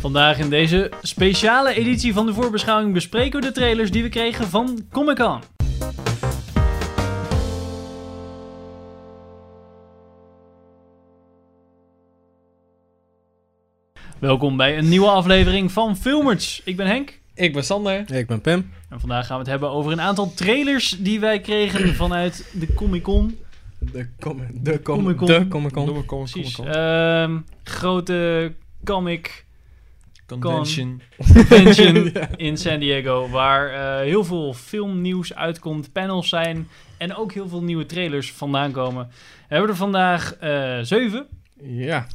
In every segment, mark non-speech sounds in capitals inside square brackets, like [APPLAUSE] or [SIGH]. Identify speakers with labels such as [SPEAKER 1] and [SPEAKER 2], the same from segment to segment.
[SPEAKER 1] Vandaag in deze speciale editie van de voorbeschouwing bespreken we de trailers die we kregen van Comic Con. Welkom bij een nieuwe aflevering van Filmers. Ik ben Henk.
[SPEAKER 2] Ik ben Sander.
[SPEAKER 3] Ik ben Pim.
[SPEAKER 1] En vandaag gaan we het hebben over een aantal trailers die wij kregen vanuit de Comic Con.
[SPEAKER 3] De Comic
[SPEAKER 1] Comic
[SPEAKER 3] De Comic
[SPEAKER 1] Con.
[SPEAKER 3] De Comic
[SPEAKER 2] Doe
[SPEAKER 3] Con.
[SPEAKER 2] maar kom,
[SPEAKER 1] Precies. Ehm, grote comic eh,
[SPEAKER 2] Convention. [LAUGHS]
[SPEAKER 1] convention in San Diego. Waar eh, heel veel filmnieuws uitkomt, panels zijn en ook heel veel nieuwe trailers vandaan komen. We hebben er vandaag eh zeven.
[SPEAKER 3] Ja.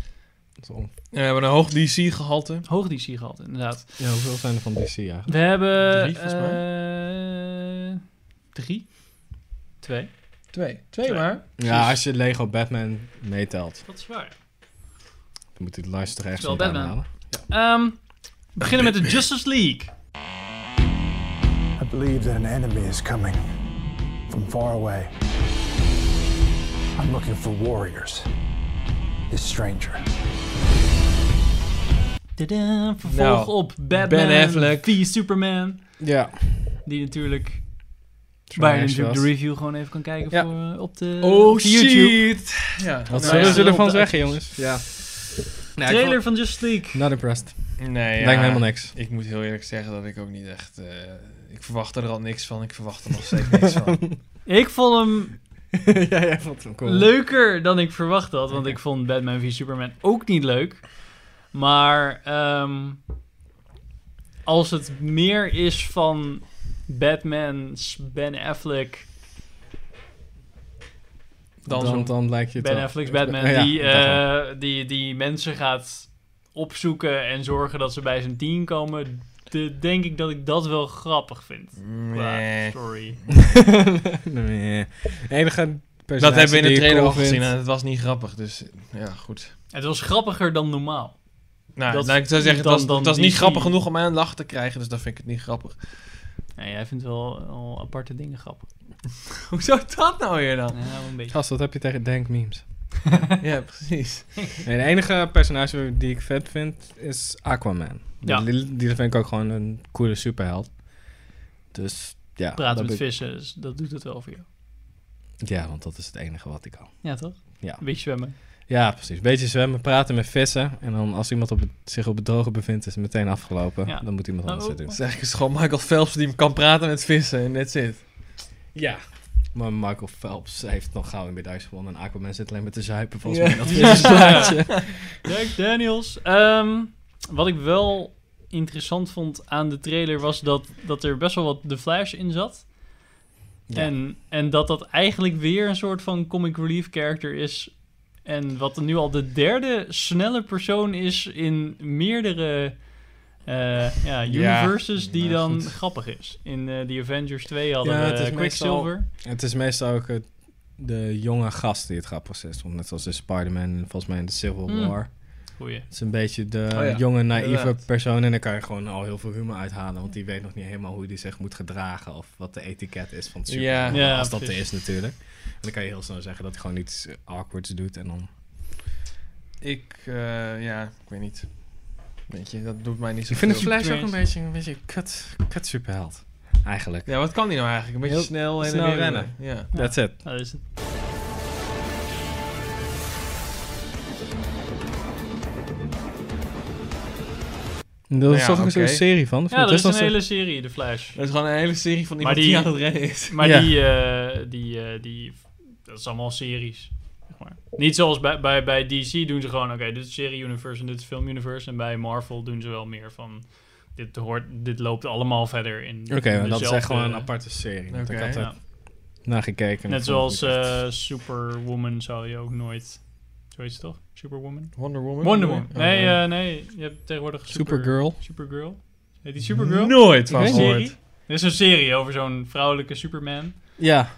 [SPEAKER 3] Dat is on-
[SPEAKER 2] Eh, We hebben een hoog DC-gehalte.
[SPEAKER 1] Hoog DC gehad, inderdaad.
[SPEAKER 3] Ja, hoeveel zijn er van DC eigenlijk?
[SPEAKER 1] We hebben...
[SPEAKER 2] Drie, volgens
[SPEAKER 1] eh, drie? Twee?
[SPEAKER 2] Twee.
[SPEAKER 1] Twee.
[SPEAKER 2] maar.
[SPEAKER 3] Ja, als je Lego Batman meetelt,
[SPEAKER 1] Dat is waar.
[SPEAKER 3] dan moet hij de luisteraar echt
[SPEAKER 1] Wel
[SPEAKER 3] niet
[SPEAKER 1] Batman.
[SPEAKER 3] aanhalen.
[SPEAKER 1] Ehm, we beginnen met de Justice League.
[SPEAKER 4] I believe that an enemy is coming from far away. I'm looking for warriors. This stranger.
[SPEAKER 1] Tada, vervolg
[SPEAKER 2] Nou,
[SPEAKER 1] op Batman
[SPEAKER 2] Ben Affleck.
[SPEAKER 1] v Superman.
[SPEAKER 3] Ja.
[SPEAKER 1] Die natuurlijk...
[SPEAKER 3] Zwaar
[SPEAKER 1] Waar je
[SPEAKER 3] is
[SPEAKER 1] natuurlijk de
[SPEAKER 3] dat.
[SPEAKER 1] review gewoon even kan kijken
[SPEAKER 3] Ja.
[SPEAKER 1] voor, eh, op de
[SPEAKER 2] Oh
[SPEAKER 1] op YouTube.
[SPEAKER 2] shit! Ja.
[SPEAKER 3] Wat
[SPEAKER 1] Nou
[SPEAKER 3] zullen
[SPEAKER 1] ja.
[SPEAKER 3] ze ervan
[SPEAKER 1] Op de-
[SPEAKER 3] zeggen, jongens? Ja.
[SPEAKER 1] Trailer van Just League.
[SPEAKER 3] Not impressed.
[SPEAKER 2] Nee, ja.
[SPEAKER 3] Lijkt me helemaal niks.
[SPEAKER 2] Ik moet heel eerlijk zeggen dat ik ook niet echt... eh, ik verwachtte er al niks van. Ik verwacht er nog [LAUGHS] steeds niks van.
[SPEAKER 1] Ik vond hem
[SPEAKER 3] [LAUGHS] ja, jij vond hem cool.
[SPEAKER 1] leuker dan ik verwacht had. Want
[SPEAKER 2] Oké.
[SPEAKER 1] ik vond Batman v Superman ook niet leuk. Maar ehm, als het meer is van Batman's Ben Affleck...
[SPEAKER 3] Dan,
[SPEAKER 2] Dan
[SPEAKER 3] dan,
[SPEAKER 2] zo'n-
[SPEAKER 3] lijkt je het
[SPEAKER 1] Ben
[SPEAKER 3] wel.
[SPEAKER 1] Affleck's Batman,
[SPEAKER 3] Ja,
[SPEAKER 1] die,
[SPEAKER 3] dat wel.
[SPEAKER 1] eh, die, die mensen gaat opzoeken en zorgen dat ze bij zijn team komen, de- denk ik dat ik dat wel grappig vind. Qua
[SPEAKER 2] Nee.
[SPEAKER 1] story.
[SPEAKER 3] nee. De enige
[SPEAKER 2] Dat hebben we in de trailer al
[SPEAKER 3] al
[SPEAKER 2] gezien en het was niet grappig. Dus ja, goed.
[SPEAKER 1] Het was grappiger dan normaal.
[SPEAKER 2] Nou,
[SPEAKER 1] Dat-
[SPEAKER 2] laat ik zo zeggen, het
[SPEAKER 1] dan-
[SPEAKER 2] was,
[SPEAKER 1] dan
[SPEAKER 2] het was niet
[SPEAKER 1] DC.
[SPEAKER 2] grappig genoeg om mij een lach te krijgen. Dus dan vind ik het niet grappig.
[SPEAKER 1] Nee, jij vindt wel, wel aparte dingen grappig.
[SPEAKER 2] Hoezo dat nou weer dan?
[SPEAKER 1] Ja, wel een beetje.
[SPEAKER 3] Gast, wat heb je tegen Dank Memes?
[SPEAKER 2] [LAUGHS] ja, precies.
[SPEAKER 3] Nee, de enige personage die ik vet vind is Aquaman.
[SPEAKER 1] Ja.
[SPEAKER 3] Die, die vind ik ook gewoon een coole superheld. Dus ja.
[SPEAKER 1] Praten
[SPEAKER 3] dat
[SPEAKER 1] met
[SPEAKER 3] heb ik-
[SPEAKER 1] vissen, dus dat doet het wel voor jou.
[SPEAKER 3] Ja, want dat is het enige wat ik kan.
[SPEAKER 1] Ja, toch?
[SPEAKER 3] Ja.
[SPEAKER 1] Een beetje zwemmen.
[SPEAKER 3] Ja, precies. Beetje zwemmen, praten met vissen. En dan als iemand op het- zich op het droge bevindt, is het meteen afgelopen.
[SPEAKER 1] Ja.
[SPEAKER 3] Dan moet iemand anders het
[SPEAKER 1] Oh.
[SPEAKER 3] doen.
[SPEAKER 2] Dus eigenlijk is het gewoon Michael Phelps die kan praten met vissen en that's it.
[SPEAKER 3] Ja. Maar Michael Phelps heeft nog gauw een medaille gewonnen. En Aquaman zit alleen met de zuipen volgens
[SPEAKER 2] Ja.
[SPEAKER 3] mij.
[SPEAKER 2] [LAUGHS]
[SPEAKER 3] Dat is een [LAUGHS] plaatje.
[SPEAKER 1] Jack Daniels. Ehm, wat ik wel interessant vond aan de trailer was dat, dat er best wel wat The Flash in zat.
[SPEAKER 3] Ja.
[SPEAKER 1] En, en dat dat eigenlijk weer een soort van comic relief character is. En wat er nu al de derde snelle persoon is in meerdere eh, ja,
[SPEAKER 2] Ja,
[SPEAKER 1] universes die
[SPEAKER 2] nou
[SPEAKER 1] dan
[SPEAKER 2] goed.
[SPEAKER 1] grappig is. In eh The Avengers 2 hadden
[SPEAKER 3] Ja,
[SPEAKER 1] we
[SPEAKER 3] het is
[SPEAKER 1] eh, Quicksilver.
[SPEAKER 3] Het is meestal ook het- de jonge gast die het grappig is. Want net zoals in Spider-Man en volgens mij in de Civil
[SPEAKER 1] Hmm.
[SPEAKER 3] War.
[SPEAKER 1] Goeie.
[SPEAKER 3] Het is een beetje de
[SPEAKER 2] Oh ja,
[SPEAKER 3] jonge, naïeve
[SPEAKER 2] inderdaad.
[SPEAKER 3] persoon. En daar kan je gewoon al heel veel humor uithalen. Want die weet nog niet helemaal hoe die zich moet gedragen. Of wat de etiket is van het super.
[SPEAKER 2] Ja.
[SPEAKER 1] Ja,
[SPEAKER 3] als dat er
[SPEAKER 1] precies.
[SPEAKER 3] is natuurlijk. En dan kan je heel snel zeggen dat hij gewoon iets eh, awkwards doet. En dan...
[SPEAKER 2] Ik, eh, ja, ik weet niet. Weet je, dat doet mij niet zo
[SPEAKER 3] Ik vind de
[SPEAKER 1] het
[SPEAKER 3] Flash ook een
[SPEAKER 1] Superheld.
[SPEAKER 3] beetje een beetje een kut, kut superheld. Eigenlijk.
[SPEAKER 2] Ja, wat kan die nou eigenlijk? Een beetje
[SPEAKER 3] Heel
[SPEAKER 2] snel en
[SPEAKER 3] snel
[SPEAKER 2] weer
[SPEAKER 3] rennen.
[SPEAKER 2] Ja.
[SPEAKER 3] That's it.
[SPEAKER 1] Nou, dat is het.
[SPEAKER 3] Er is
[SPEAKER 2] ja,
[SPEAKER 3] toch ook zo'n
[SPEAKER 2] oké.
[SPEAKER 3] serie van? of
[SPEAKER 1] Ja,
[SPEAKER 3] niet?
[SPEAKER 1] er is
[SPEAKER 3] Dat
[SPEAKER 1] een
[SPEAKER 3] was
[SPEAKER 1] hele serie, The Flash.
[SPEAKER 2] Dat is gewoon een hele serie van
[SPEAKER 1] Maar
[SPEAKER 2] iemand die...
[SPEAKER 1] die-
[SPEAKER 2] aan het rennen is.
[SPEAKER 1] Maar
[SPEAKER 3] Ja.
[SPEAKER 1] die, eh, die, eh, die, dat is allemaal series. zeg maar. Niet zoals bij, bij, bij DC doen ze gewoon, oké, dit is serie universe en dit is film universe. En bij Marvel doen ze wel meer van, dit, hoort, dit loopt allemaal verder in
[SPEAKER 3] Oké, maar dat is echt
[SPEAKER 1] dezelfde-
[SPEAKER 3] gewoon een aparte serie. want ik
[SPEAKER 2] Oké,
[SPEAKER 3] had er
[SPEAKER 1] eh, ja.
[SPEAKER 3] naar gekeken.
[SPEAKER 1] Net
[SPEAKER 3] Ik vond het
[SPEAKER 1] zoals
[SPEAKER 3] niet echt-
[SPEAKER 1] eh, Superwoman zou je ook nooit, zo heet ze toch? Superwoman?
[SPEAKER 2] Wonder Woman?
[SPEAKER 1] Wonder Woman.
[SPEAKER 2] Oh,
[SPEAKER 1] Nee, eh, nee, je hebt tegenwoordig super,
[SPEAKER 3] Supergirl.
[SPEAKER 1] Supergirl. Heet die Supergirl?
[SPEAKER 2] Nooit
[SPEAKER 3] Ik
[SPEAKER 2] van
[SPEAKER 3] weet
[SPEAKER 1] Een serie?
[SPEAKER 2] gehoord.
[SPEAKER 1] Er is een serie over zo'n vrouwelijke Superman.
[SPEAKER 3] Ja.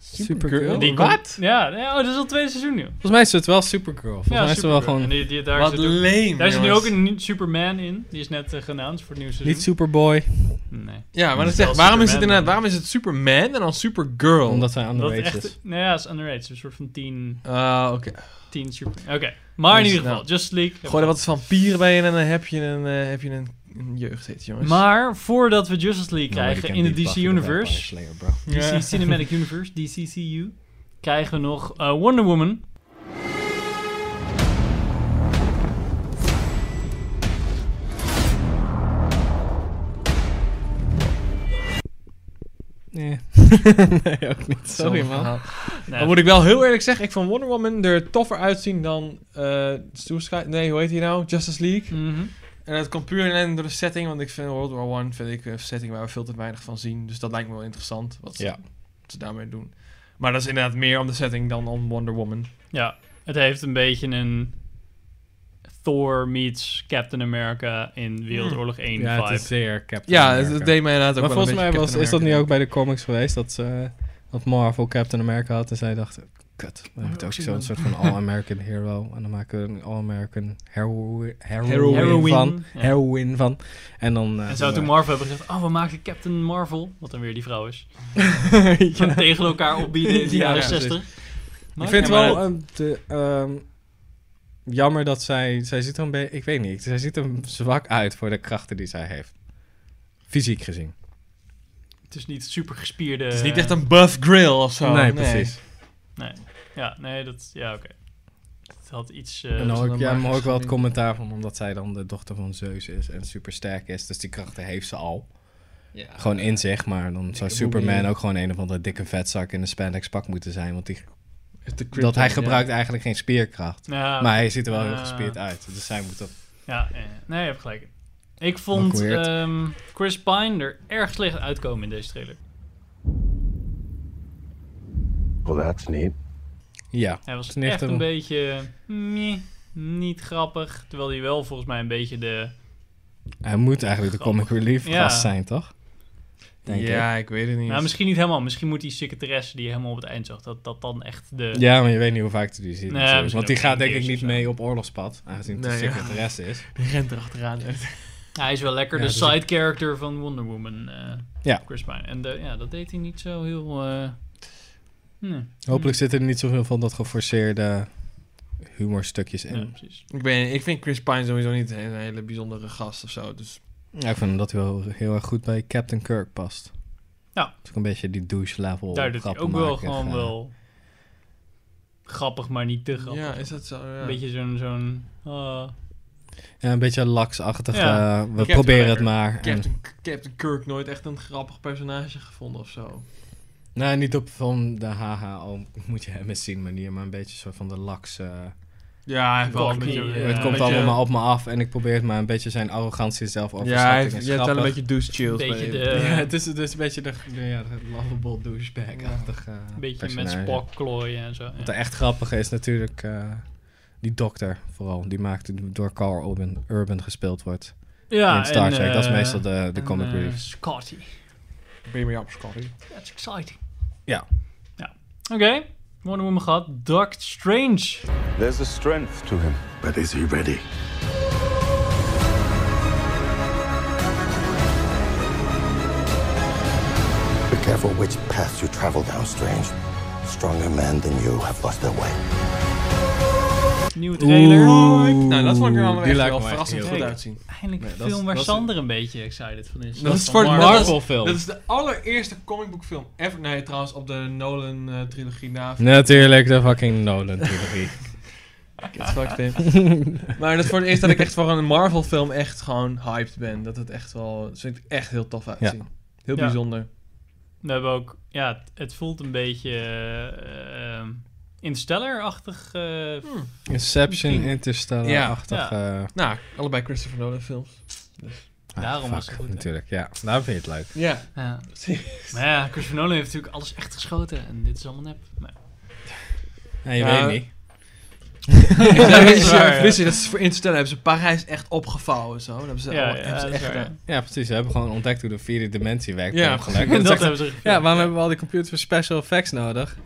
[SPEAKER 2] Supergirl?
[SPEAKER 3] Supergirl.
[SPEAKER 1] Die
[SPEAKER 2] Wat?
[SPEAKER 1] komt- Ja, nee, oh, dat is al het tweede seizoen nu.
[SPEAKER 3] Volgens mij is het wel Supergirl. Volgens mij is het wel
[SPEAKER 1] Supergirl.
[SPEAKER 3] gewoon...
[SPEAKER 1] En die, die, daar,
[SPEAKER 2] Wat
[SPEAKER 1] zit ook,
[SPEAKER 2] lame,
[SPEAKER 1] daar zit nu ook
[SPEAKER 2] jongens.
[SPEAKER 1] een nieuw Superman in. Die is net eh, genaamd voor het nieuwe seizoen.
[SPEAKER 3] Niet Superboy.
[SPEAKER 1] Nee.
[SPEAKER 2] Ja, maar dat is
[SPEAKER 1] Wel
[SPEAKER 2] echt, waarom is het
[SPEAKER 1] Superman,
[SPEAKER 2] inderdaad,
[SPEAKER 1] maar-
[SPEAKER 2] waarom is het Superman en dan Supergirl?
[SPEAKER 3] Omdat hij
[SPEAKER 1] Oh. Dat
[SPEAKER 3] underrated is.
[SPEAKER 1] echt, nou ja, is underrated. Het is Een soort van 10
[SPEAKER 2] Ah, oké.
[SPEAKER 1] tien super... Oké, maar in
[SPEAKER 2] Dus,
[SPEAKER 1] ieder geval,
[SPEAKER 2] nou,
[SPEAKER 1] Just League.
[SPEAKER 2] Gooi er wat vampieren bij in en dan heb je een, eh, heb je een, een jeugdhit, jongens.
[SPEAKER 1] Maar voordat we Justice League
[SPEAKER 3] Nou, maar
[SPEAKER 1] krijgen
[SPEAKER 3] die kent
[SPEAKER 1] in de
[SPEAKER 3] niet
[SPEAKER 1] DC
[SPEAKER 3] Buffy the Vampire
[SPEAKER 1] Universe,
[SPEAKER 3] Slayer, bro.
[SPEAKER 2] Ja.
[SPEAKER 1] DC
[SPEAKER 3] [LAUGHS]
[SPEAKER 1] Cinematic Universe, DCCU, krijgen we nog eh, Wonder Woman.
[SPEAKER 3] Nee. nee, ook niet.
[SPEAKER 2] Hetzelfde
[SPEAKER 3] Sorry, man.
[SPEAKER 2] verhaal.
[SPEAKER 1] Nee,
[SPEAKER 2] Dan moet ik wel heel eerlijk zeggen, ik vond Wonder Woman er toffer uitzien dan eh Suicide... Nee, hoe heet die nou? Justice League.
[SPEAKER 1] Mhm.
[SPEAKER 2] En dat komt puur en alleen door de setting, want ik vind World War One vind ik een setting waar we veel te weinig van zien. Dus dat lijkt me wel interessant, wat ze,
[SPEAKER 3] Ja.
[SPEAKER 2] wat ze daarmee doen. Maar dat is inderdaad meer om de setting dan om Wonder Woman.
[SPEAKER 1] Ja, het heeft een beetje een Thor meets Captain America in Wereldoorlog 1
[SPEAKER 3] Ja, het
[SPEAKER 1] vibe.
[SPEAKER 3] is zeer Captain
[SPEAKER 2] Ja,
[SPEAKER 3] America.
[SPEAKER 2] dat deed mij inderdaad ook
[SPEAKER 3] Maar
[SPEAKER 2] wel
[SPEAKER 3] volgens mij
[SPEAKER 2] een
[SPEAKER 3] was,
[SPEAKER 2] beetje
[SPEAKER 3] is dat
[SPEAKER 2] Captain
[SPEAKER 3] niet ook
[SPEAKER 2] America.
[SPEAKER 3] bij de comics geweest dat, ze, eh, dat Marvel Captain America had en zij dachten, kut, we hebben het
[SPEAKER 1] Oh,
[SPEAKER 3] ook zo'n soort van All-American hero en dan maken we een All-American hero, heroine,
[SPEAKER 1] Heroine,
[SPEAKER 3] van.
[SPEAKER 1] ja.
[SPEAKER 3] Heroine van. En dan... eh,
[SPEAKER 1] En zou
[SPEAKER 3] doen
[SPEAKER 1] toen
[SPEAKER 3] we-
[SPEAKER 1] Marvel hebben gezegd, oh, we maken Captain Marvel, wat dan weer die vrouw
[SPEAKER 3] [LAUGHS]
[SPEAKER 1] is, Van tegen elkaar opbieden in de
[SPEAKER 2] Ja,
[SPEAKER 1] jaren
[SPEAKER 2] ja,
[SPEAKER 1] 60.
[SPEAKER 3] Ik
[SPEAKER 1] Maar-
[SPEAKER 3] vind het
[SPEAKER 1] Ja, maar
[SPEAKER 3] wel ehm, de, ehm, jammer dat zij... Zij ziet er een beetje... Ik weet niet. Zij ziet er zwak uit voor de krachten die zij heeft. Fysiek gezien.
[SPEAKER 1] Het is niet super gespierde...
[SPEAKER 2] Het is niet echt een buff grill of zo.
[SPEAKER 3] nee, precies.
[SPEAKER 1] eh, Nee, ja, nee, dat... Ja, oké. Het had iets... eh,
[SPEAKER 3] en dan
[SPEAKER 2] dat
[SPEAKER 3] hoor
[SPEAKER 2] is
[SPEAKER 3] ik,
[SPEAKER 2] dan
[SPEAKER 3] ja,
[SPEAKER 2] maar
[SPEAKER 3] maar hoor ik wel het
[SPEAKER 2] gezien.
[SPEAKER 3] commentaar van... Omdat zij dan de dochter van Zeus is en super sterk is. Dus die krachten heeft ze al.
[SPEAKER 2] Ja.
[SPEAKER 3] Gewoon in zich. Maar dan zou
[SPEAKER 2] Dikke boobie.
[SPEAKER 3] Superman ook gewoon een of andere dikke vetzak in een spandex pak moeten zijn. Want die,
[SPEAKER 2] Het is de
[SPEAKER 3] dat hij
[SPEAKER 2] Krypton,
[SPEAKER 3] gebruikt eigenlijk geen spierkracht.
[SPEAKER 1] ja,
[SPEAKER 3] Maar hij ziet er wel heel
[SPEAKER 1] Ah.
[SPEAKER 3] gespierd uit. Dus zij moet dat...
[SPEAKER 1] Ja, eh, nee, je hebt gelijk. Ik
[SPEAKER 3] Ook
[SPEAKER 1] vond
[SPEAKER 3] weird.
[SPEAKER 1] ehm, Chris Pine er erg slecht uitkomen in deze trailer.
[SPEAKER 5] [LAUGHS] Well, that's neat.
[SPEAKER 3] Ja.
[SPEAKER 1] Hij was
[SPEAKER 3] Het is niet
[SPEAKER 1] echt
[SPEAKER 3] een-
[SPEAKER 1] een beetje... meh, niet grappig. Terwijl hij wel volgens mij een beetje de...
[SPEAKER 3] Hij moet eigenlijk de comic relief
[SPEAKER 1] Ja.
[SPEAKER 3] gast zijn, toch?
[SPEAKER 2] Ja,
[SPEAKER 3] Denk
[SPEAKER 2] ja ik weet het niet.
[SPEAKER 1] Nou,
[SPEAKER 3] [LAUGHS]
[SPEAKER 1] misschien niet helemaal. Misschien moet die secretaresse die je helemaal op het eind zag... dat dat dan echt de...
[SPEAKER 3] Ja, maar je weet niet hoe vaak hij die ziet.
[SPEAKER 1] Nee,
[SPEAKER 3] natuurlijk.
[SPEAKER 1] misschien
[SPEAKER 3] want die
[SPEAKER 1] ook
[SPEAKER 3] gaat
[SPEAKER 1] één
[SPEAKER 3] denk
[SPEAKER 1] keer
[SPEAKER 3] ik
[SPEAKER 1] of
[SPEAKER 3] niet
[SPEAKER 1] zo.
[SPEAKER 3] mee op oorlogspad. Aangezien het
[SPEAKER 2] Nee,
[SPEAKER 3] de
[SPEAKER 2] ja.
[SPEAKER 3] secretaresse is.
[SPEAKER 2] Die rent erachteraan.
[SPEAKER 1] Hij is wel lekker
[SPEAKER 3] Ja,
[SPEAKER 1] de
[SPEAKER 3] dus
[SPEAKER 1] side character van Wonder Woman. eh,
[SPEAKER 3] Ja.
[SPEAKER 1] Chris Pine. En de, ja, dat deed hij niet zo heel... eh, hm.
[SPEAKER 3] Hopelijk zitten er niet zoveel van dat geforceerde humorstukjes
[SPEAKER 1] Ja,
[SPEAKER 3] in.
[SPEAKER 1] precies.
[SPEAKER 2] Ik, ben, ik vind Chris Pine sowieso niet een hele bijzondere gast of zo. Dus
[SPEAKER 3] Ja, ik vind dat hij wel heel erg goed bij Captain Kirk past.
[SPEAKER 1] Ja.
[SPEAKER 3] Het is ook een beetje die douche level.
[SPEAKER 1] Daar doet hij ook wel
[SPEAKER 3] eh.
[SPEAKER 1] gewoon wel... Grappig, maar niet te grappig.
[SPEAKER 2] ja, is dat zo? Ja.
[SPEAKER 1] Een beetje zo'n... zo'n ah,
[SPEAKER 3] eh, Ja, een beetje laksachtig.
[SPEAKER 1] Ja.
[SPEAKER 3] eh, we
[SPEAKER 2] Captain
[SPEAKER 3] proberen het
[SPEAKER 2] America.
[SPEAKER 3] maar. En,
[SPEAKER 2] Captain, Captain Kirk nooit echt een grappig personage gevonden of zo.
[SPEAKER 3] nou, niet op van de haha, oh, moet je hem eens zien manier. Maar een beetje soort van de laks... eh,
[SPEAKER 2] Ja, hij heeft wel een
[SPEAKER 1] Cocky,
[SPEAKER 2] beetje...
[SPEAKER 1] ja.
[SPEAKER 3] het komt
[SPEAKER 2] beetje-
[SPEAKER 3] allemaal maar op me af en ik probeer het maar een beetje zijn arrogantie zelf over
[SPEAKER 2] Ja, hij heeft, je hebt wel een beetje douche chills.
[SPEAKER 1] Beetje
[SPEAKER 2] bij hem.
[SPEAKER 1] de-
[SPEAKER 3] Ja, het is, het is een beetje de, de, ja, de lovable douchebag-achtig eh,
[SPEAKER 1] een beetje
[SPEAKER 3] personage.
[SPEAKER 1] met Spock klooien en zo. ja.
[SPEAKER 3] Wat de echt grappige is natuurlijk eh, die dokter vooral. Die maakt door Carl Urban, Urban gespeeld wordt
[SPEAKER 1] Ja,
[SPEAKER 3] in Star
[SPEAKER 1] en,
[SPEAKER 3] Trek. dat is
[SPEAKER 1] eh,
[SPEAKER 3] meestal de, de
[SPEAKER 1] en,
[SPEAKER 3] comic
[SPEAKER 1] eh,
[SPEAKER 3] relief.
[SPEAKER 1] Scotty.
[SPEAKER 2] Ben je mee op, Scotty?
[SPEAKER 1] That's exciting.
[SPEAKER 3] Ja.
[SPEAKER 1] Ja. Oké. Wonder Woman gehad. Doctor Strange.
[SPEAKER 6] There's a strength to him.
[SPEAKER 5] But is he ready? Be careful which path you travel down, Strange. Stronger men than you have lost their way.
[SPEAKER 1] Nieuwe trailer.
[SPEAKER 2] Nou, dat vond ik er
[SPEAKER 3] Oeh,
[SPEAKER 2] allemaal
[SPEAKER 3] die
[SPEAKER 2] echt
[SPEAKER 3] lijkt
[SPEAKER 2] wel
[SPEAKER 3] me echt
[SPEAKER 2] verrassend
[SPEAKER 3] heel
[SPEAKER 2] goed
[SPEAKER 1] goed.
[SPEAKER 2] uitzien.
[SPEAKER 1] Eindelijk
[SPEAKER 3] Nee,
[SPEAKER 1] een
[SPEAKER 3] dat is-
[SPEAKER 1] film waar
[SPEAKER 3] dat is-
[SPEAKER 1] Sander een beetje excited van is.
[SPEAKER 2] Dat is
[SPEAKER 1] van
[SPEAKER 2] voor
[SPEAKER 1] Marvel.
[SPEAKER 2] Marvel.
[SPEAKER 3] film.
[SPEAKER 2] Dat is de allereerste comicboekfilm ever. Nee, trouwens, op de Nolan-trilogie na.
[SPEAKER 3] [LAUGHS] Natuurlijk de fucking Nolan-trilogie.
[SPEAKER 2] Get fucked in. [LAUGHS] maar dat is voor het eerst dat ik echt voor een Marvel-film echt gewoon hyped ben. Dat het echt wel... Dat vind ik echt heel tof uitzien. Heel
[SPEAKER 1] Ja.
[SPEAKER 2] bijzonder.
[SPEAKER 1] We hebben ook... Ja, het, het voelt een beetje... eh, ehm, Interstellar-achtig... eh,
[SPEAKER 2] Hmm.
[SPEAKER 3] Inception, Interstellar-achtig. eh,
[SPEAKER 2] Nou, allebei Christopher Nolan films.
[SPEAKER 3] ah,
[SPEAKER 1] Daarom was
[SPEAKER 3] fuck,
[SPEAKER 1] het goed, hè?
[SPEAKER 3] Natuurlijk, ja. Daarom vind je het leuk.
[SPEAKER 2] Ja.
[SPEAKER 1] ja. Maar ja, Christopher Nolan heeft natuurlijk alles echt geschoten. En dit is allemaal nep. Maar,
[SPEAKER 3] Ja, je
[SPEAKER 2] Ja.
[SPEAKER 3] weet niet.
[SPEAKER 2] dat is
[SPEAKER 1] waar, ja.
[SPEAKER 2] waar. Wist je, dat is voor instellen hebben ze Parijs echt opgevouwen zo. Dat hebben ze,
[SPEAKER 1] ja,
[SPEAKER 2] allemaal-
[SPEAKER 1] ja,
[SPEAKER 2] hebben ze
[SPEAKER 1] dat is
[SPEAKER 2] echt eh,
[SPEAKER 1] waar, ja.
[SPEAKER 2] gedaan.
[SPEAKER 3] Ja, precies. We hebben gewoon ontdekt hoe de vierde dimensie werkt.
[SPEAKER 2] Ja,
[SPEAKER 3] Ja,
[SPEAKER 1] En
[SPEAKER 3] gelukkig.
[SPEAKER 1] dat hebben ze
[SPEAKER 3] Ja, waarom hebben we al die computers voor special effects nodig?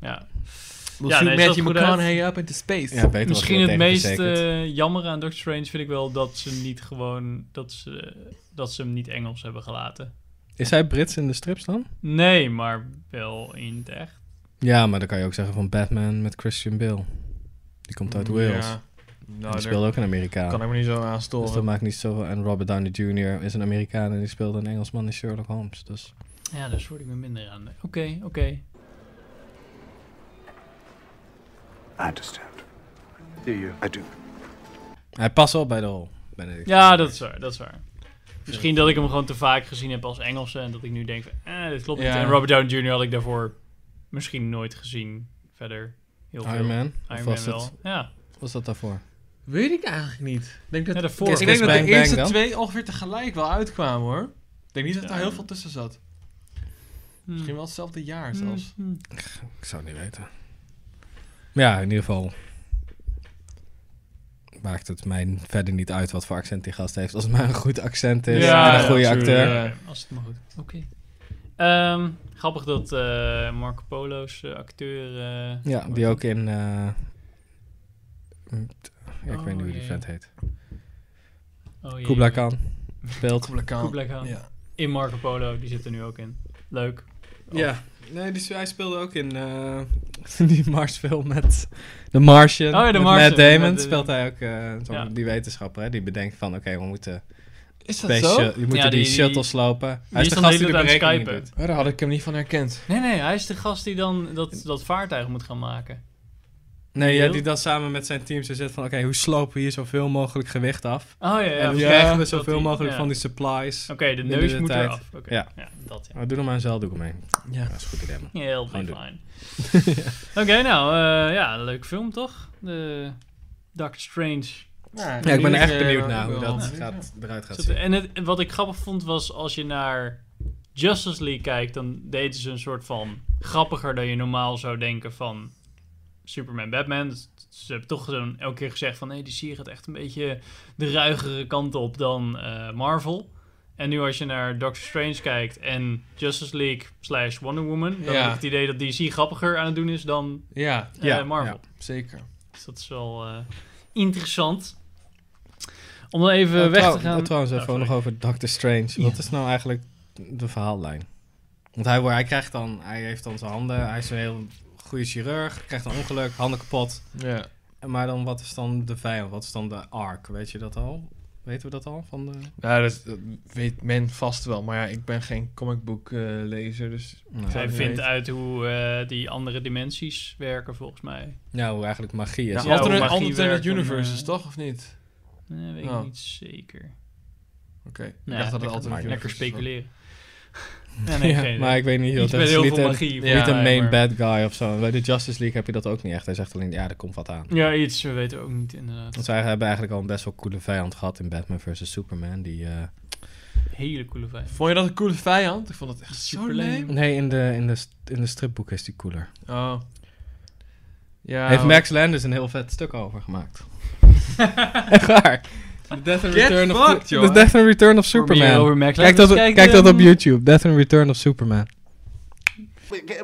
[SPEAKER 1] Ja.
[SPEAKER 2] We'll
[SPEAKER 1] Ja,
[SPEAKER 2] shoot
[SPEAKER 1] nee, het
[SPEAKER 2] Matthew
[SPEAKER 1] zag er goed uit.
[SPEAKER 2] McConaughey up into space.
[SPEAKER 3] Ja, beter was
[SPEAKER 1] Misschien
[SPEAKER 3] wel
[SPEAKER 1] het
[SPEAKER 3] tegen
[SPEAKER 1] meest
[SPEAKER 3] verzekerd.
[SPEAKER 1] eh, jammer aan Doctor Strange vind ik wel dat ze niet gewoon dat ze, dat ze hem niet Engels hebben gelaten.
[SPEAKER 3] Is hij Brits in de strips dan?
[SPEAKER 1] Nee, maar wel in het echt.
[SPEAKER 3] Ja, maar dan kan je ook zeggen van Batman met Christian Bale. Die komt uit Wales.
[SPEAKER 2] Ja.
[SPEAKER 3] Die
[SPEAKER 2] Nou, daar
[SPEAKER 3] speelde ook een Amerikaan.
[SPEAKER 2] kan ik me niet zo aan
[SPEAKER 3] Dus dat
[SPEAKER 2] storen.
[SPEAKER 3] maakt niet zoveel. En Robert Downey Jr. is een Amerikaan en die speelde een Engelsman in Sherlock Holmes. Dus
[SPEAKER 1] Ja, daar word ik me minder aan. Oké, oké.
[SPEAKER 4] I understand. Do you? I do.
[SPEAKER 3] hij past wel bij de rol. Benedict.
[SPEAKER 1] Ja, dat is waar, dat is waar. Misschien dat ik hem gewoon te vaak gezien heb als Engelse en dat ik nu denk van, eh, dit klopt niet.
[SPEAKER 2] Ja.
[SPEAKER 1] En Robert Downey Jr. had ik daarvoor misschien nooit gezien verder. Heel veel.
[SPEAKER 3] Iron Man.
[SPEAKER 1] Iron
[SPEAKER 3] Of
[SPEAKER 1] Man
[SPEAKER 3] was,
[SPEAKER 1] wel.
[SPEAKER 3] dat,
[SPEAKER 1] Ja,
[SPEAKER 3] was dat daarvoor?
[SPEAKER 2] Weet ik eigenlijk niet. Ik denk dat,
[SPEAKER 1] Ja, daarvoor.
[SPEAKER 2] ik denk dat
[SPEAKER 3] Bang
[SPEAKER 2] de
[SPEAKER 3] Bang
[SPEAKER 2] eerste
[SPEAKER 3] dan?
[SPEAKER 2] twee ongeveer tegelijk wel uitkwamen hoor. Ik denk niet dat er
[SPEAKER 1] Ja.
[SPEAKER 2] heel veel tussen zat. Misschien wel hetzelfde
[SPEAKER 1] Mm.
[SPEAKER 2] jaar
[SPEAKER 3] Hmm.
[SPEAKER 2] zelfs.
[SPEAKER 3] Ik zou het niet weten. Ja, in ieder geval maakt het mij verder niet uit wat voor accent die gast heeft. Als het maar een goed accent is
[SPEAKER 1] Ja,
[SPEAKER 3] en een
[SPEAKER 1] ja,
[SPEAKER 3] goede
[SPEAKER 2] tuurlijk.
[SPEAKER 3] acteur.
[SPEAKER 2] Ja.
[SPEAKER 1] Als het maar goed. Oké. Ehm, grappig dat eh, Marco Polo's eh, acteur. eh,
[SPEAKER 3] Ja, die ook in. eh, mm, t- ja, ik
[SPEAKER 1] Oh,
[SPEAKER 3] weet niet hoe die
[SPEAKER 1] ja,
[SPEAKER 3] vent heet.
[SPEAKER 1] Oh, jee.
[SPEAKER 3] Kubla Khan
[SPEAKER 1] [LAUGHS]
[SPEAKER 3] speelt.
[SPEAKER 2] Kublai Khan.
[SPEAKER 1] Kublai Khan.
[SPEAKER 2] Ja.
[SPEAKER 1] In Marco Polo, die zit er nu ook in. Leuk.
[SPEAKER 3] Ja, nee, die, hij speelde ook in Oh. [LAUGHS] die Mars-film met The Martian.
[SPEAKER 1] eh, Oh ja, The
[SPEAKER 3] met
[SPEAKER 1] Martian.
[SPEAKER 3] Matt Damon
[SPEAKER 1] Met de-
[SPEAKER 3] speelt hij ook eh, zo'n-
[SPEAKER 1] Ja.
[SPEAKER 3] die wetenschapper. Hè, die bedenkt van, oké, we moeten,
[SPEAKER 2] Is dat
[SPEAKER 3] space
[SPEAKER 2] zo?
[SPEAKER 3] shut- we moeten
[SPEAKER 1] Ja,
[SPEAKER 3] die,
[SPEAKER 1] die-
[SPEAKER 3] shuttle slopen. Hij is
[SPEAKER 1] is
[SPEAKER 3] de
[SPEAKER 1] dan
[SPEAKER 3] gast
[SPEAKER 1] de
[SPEAKER 3] die de
[SPEAKER 1] hele tijd aan het
[SPEAKER 3] berekeningen doet.
[SPEAKER 1] skypen.
[SPEAKER 2] Ja, daar had ik hem niet van herkend.
[SPEAKER 1] Nee, nee, hij is de gast die dan dat, dat vaartuig moet gaan maken.
[SPEAKER 3] Nee,
[SPEAKER 1] Die
[SPEAKER 3] ja,
[SPEAKER 1] heel-
[SPEAKER 3] die dan samen met zijn team zo zit van, oké, hoe slopen we hier zoveel mogelijk gewicht af?
[SPEAKER 1] Oh ja, ja.
[SPEAKER 3] en hoe
[SPEAKER 1] ja.
[SPEAKER 3] krijgen we
[SPEAKER 1] dat
[SPEAKER 3] zoveel
[SPEAKER 1] die-
[SPEAKER 3] mogelijk
[SPEAKER 1] ja.
[SPEAKER 3] van die supplies?
[SPEAKER 1] Oké, de
[SPEAKER 3] binnen
[SPEAKER 1] neus
[SPEAKER 3] de
[SPEAKER 1] moet
[SPEAKER 3] tijd?
[SPEAKER 1] eraf. Oké.
[SPEAKER 3] Ja.
[SPEAKER 1] ja, dat ja.
[SPEAKER 3] Oh, doe er maar een zeildoek omheen.
[SPEAKER 2] Ja.
[SPEAKER 3] Dat is een goed idee, man.
[SPEAKER 1] Heel
[SPEAKER 3] Gewoon
[SPEAKER 1] big
[SPEAKER 3] doen.
[SPEAKER 1] line.
[SPEAKER 3] [LAUGHS]
[SPEAKER 1] Oké, nou, eh, ja, een leuke film toch? De Doctor Strange.
[SPEAKER 3] Ja, ik ben
[SPEAKER 2] die
[SPEAKER 3] echt
[SPEAKER 2] is,
[SPEAKER 3] benieuwd
[SPEAKER 2] eh,
[SPEAKER 3] naar hoe
[SPEAKER 2] wel-
[SPEAKER 3] dat
[SPEAKER 2] Ja.
[SPEAKER 3] gaat, eruit gaat
[SPEAKER 1] Zat-
[SPEAKER 3] zien.
[SPEAKER 1] En het, wat ik grappig vond was als je naar Justice League kijkt, dan deden ze een soort van grappiger dan je normaal zou denken van Superman, Batman. Dus Ze hebben toch zo'n elke keer gezegd van nee, die serie gaat echt een beetje de ruigere kant op dan eh, Marvel. En nu als je naar Doctor Strange kijkt en Justice League slash Wonder Woman, dan
[SPEAKER 2] Ja.
[SPEAKER 1] heb ik het idee dat DC grappiger aan het doen is dan
[SPEAKER 2] Ja,
[SPEAKER 1] eh, Marvel.
[SPEAKER 2] zeker.
[SPEAKER 1] Dus dat is wel eh, interessant. Om dan even
[SPEAKER 3] Oh,
[SPEAKER 1] weg
[SPEAKER 3] trouw-
[SPEAKER 1] te gaan.
[SPEAKER 3] oh, trouwens,
[SPEAKER 1] Oh,
[SPEAKER 3] even
[SPEAKER 1] sorry.
[SPEAKER 3] nog over Doctor Strange. Wat is nou eigenlijk de verhaallijn? Want hij, wordt- hij krijgt dan, hij heeft dan zijn handen, hij is een heel goede chirurg, krijgt een ongeluk, handen kapot.
[SPEAKER 2] Ja.
[SPEAKER 3] Maar dan, wat is dan de vijand? Wat is dan de arc? Weet je dat al? Weten we dat al? Van de...
[SPEAKER 2] Nou, dat, dat weet men vast wel. Maar ja, ik ben geen comicbook eh, lezer, dus...
[SPEAKER 3] Nou,
[SPEAKER 1] Zij
[SPEAKER 2] Ja,
[SPEAKER 1] vindt
[SPEAKER 2] weet.
[SPEAKER 1] uit hoe eh, die andere dimensies werken, volgens mij.
[SPEAKER 3] Ja, hoe eigenlijk magie is.
[SPEAKER 2] Nou,
[SPEAKER 1] Ja, oh,
[SPEAKER 3] Ja,
[SPEAKER 1] altijd
[SPEAKER 3] [LAUGHS]
[SPEAKER 2] alternate,
[SPEAKER 1] hoe magie werkt
[SPEAKER 2] alternate
[SPEAKER 1] en,
[SPEAKER 2] universes,
[SPEAKER 1] eh,
[SPEAKER 2] toch? Of niet?
[SPEAKER 1] Nee, Eh, weet
[SPEAKER 2] Oh.
[SPEAKER 1] ik niet zeker.
[SPEAKER 2] Oké. Ik
[SPEAKER 1] Nou,
[SPEAKER 2] dacht dat het
[SPEAKER 1] lekker-
[SPEAKER 2] alternate
[SPEAKER 1] Lekker
[SPEAKER 2] universes was.
[SPEAKER 3] [LAUGHS]
[SPEAKER 1] speculeren. Ja, nee, geen idee.
[SPEAKER 3] maar ik weet niet, joh,
[SPEAKER 1] Iets
[SPEAKER 3] dat
[SPEAKER 1] met
[SPEAKER 3] is
[SPEAKER 1] heel
[SPEAKER 3] niet
[SPEAKER 1] veel
[SPEAKER 3] een,
[SPEAKER 1] magie.
[SPEAKER 2] niet
[SPEAKER 1] volgens
[SPEAKER 3] niet een
[SPEAKER 1] mij,
[SPEAKER 3] main
[SPEAKER 1] maar-
[SPEAKER 3] bad guy of zo. Bij de Justice League heb je dat ook niet echt. Hij zegt alleen, ja, er komt wat aan.
[SPEAKER 1] Ja, iets. We weten ook niet, inderdaad.
[SPEAKER 3] Want ze hebben eigenlijk al een best wel coole vijand gehad in Batman vs. Superman. Die, eh,
[SPEAKER 1] Hele coole vijf.
[SPEAKER 2] Vond je dat een coole vijand? Ik vond dat echt
[SPEAKER 1] Super
[SPEAKER 2] zo
[SPEAKER 1] lame.
[SPEAKER 2] leuk.
[SPEAKER 3] Nee, in de, in, de, st- in de stripboek is die cooler. Oh.
[SPEAKER 2] Oh. Ja.
[SPEAKER 3] Heeft Max Landis een heel vet stuk over [LAUGHS] gemaakt. Echt waar. The Death and
[SPEAKER 2] Get
[SPEAKER 3] Return of,
[SPEAKER 2] fucked,
[SPEAKER 3] The
[SPEAKER 2] joh.
[SPEAKER 3] Death and Return of
[SPEAKER 1] Voor meer
[SPEAKER 3] Superman.
[SPEAKER 1] over Mac
[SPEAKER 3] Kijk
[SPEAKER 1] Landis,
[SPEAKER 3] dat, op- kijk eh, dat
[SPEAKER 1] dan-
[SPEAKER 3] op YouTube. Death and Return of Superman.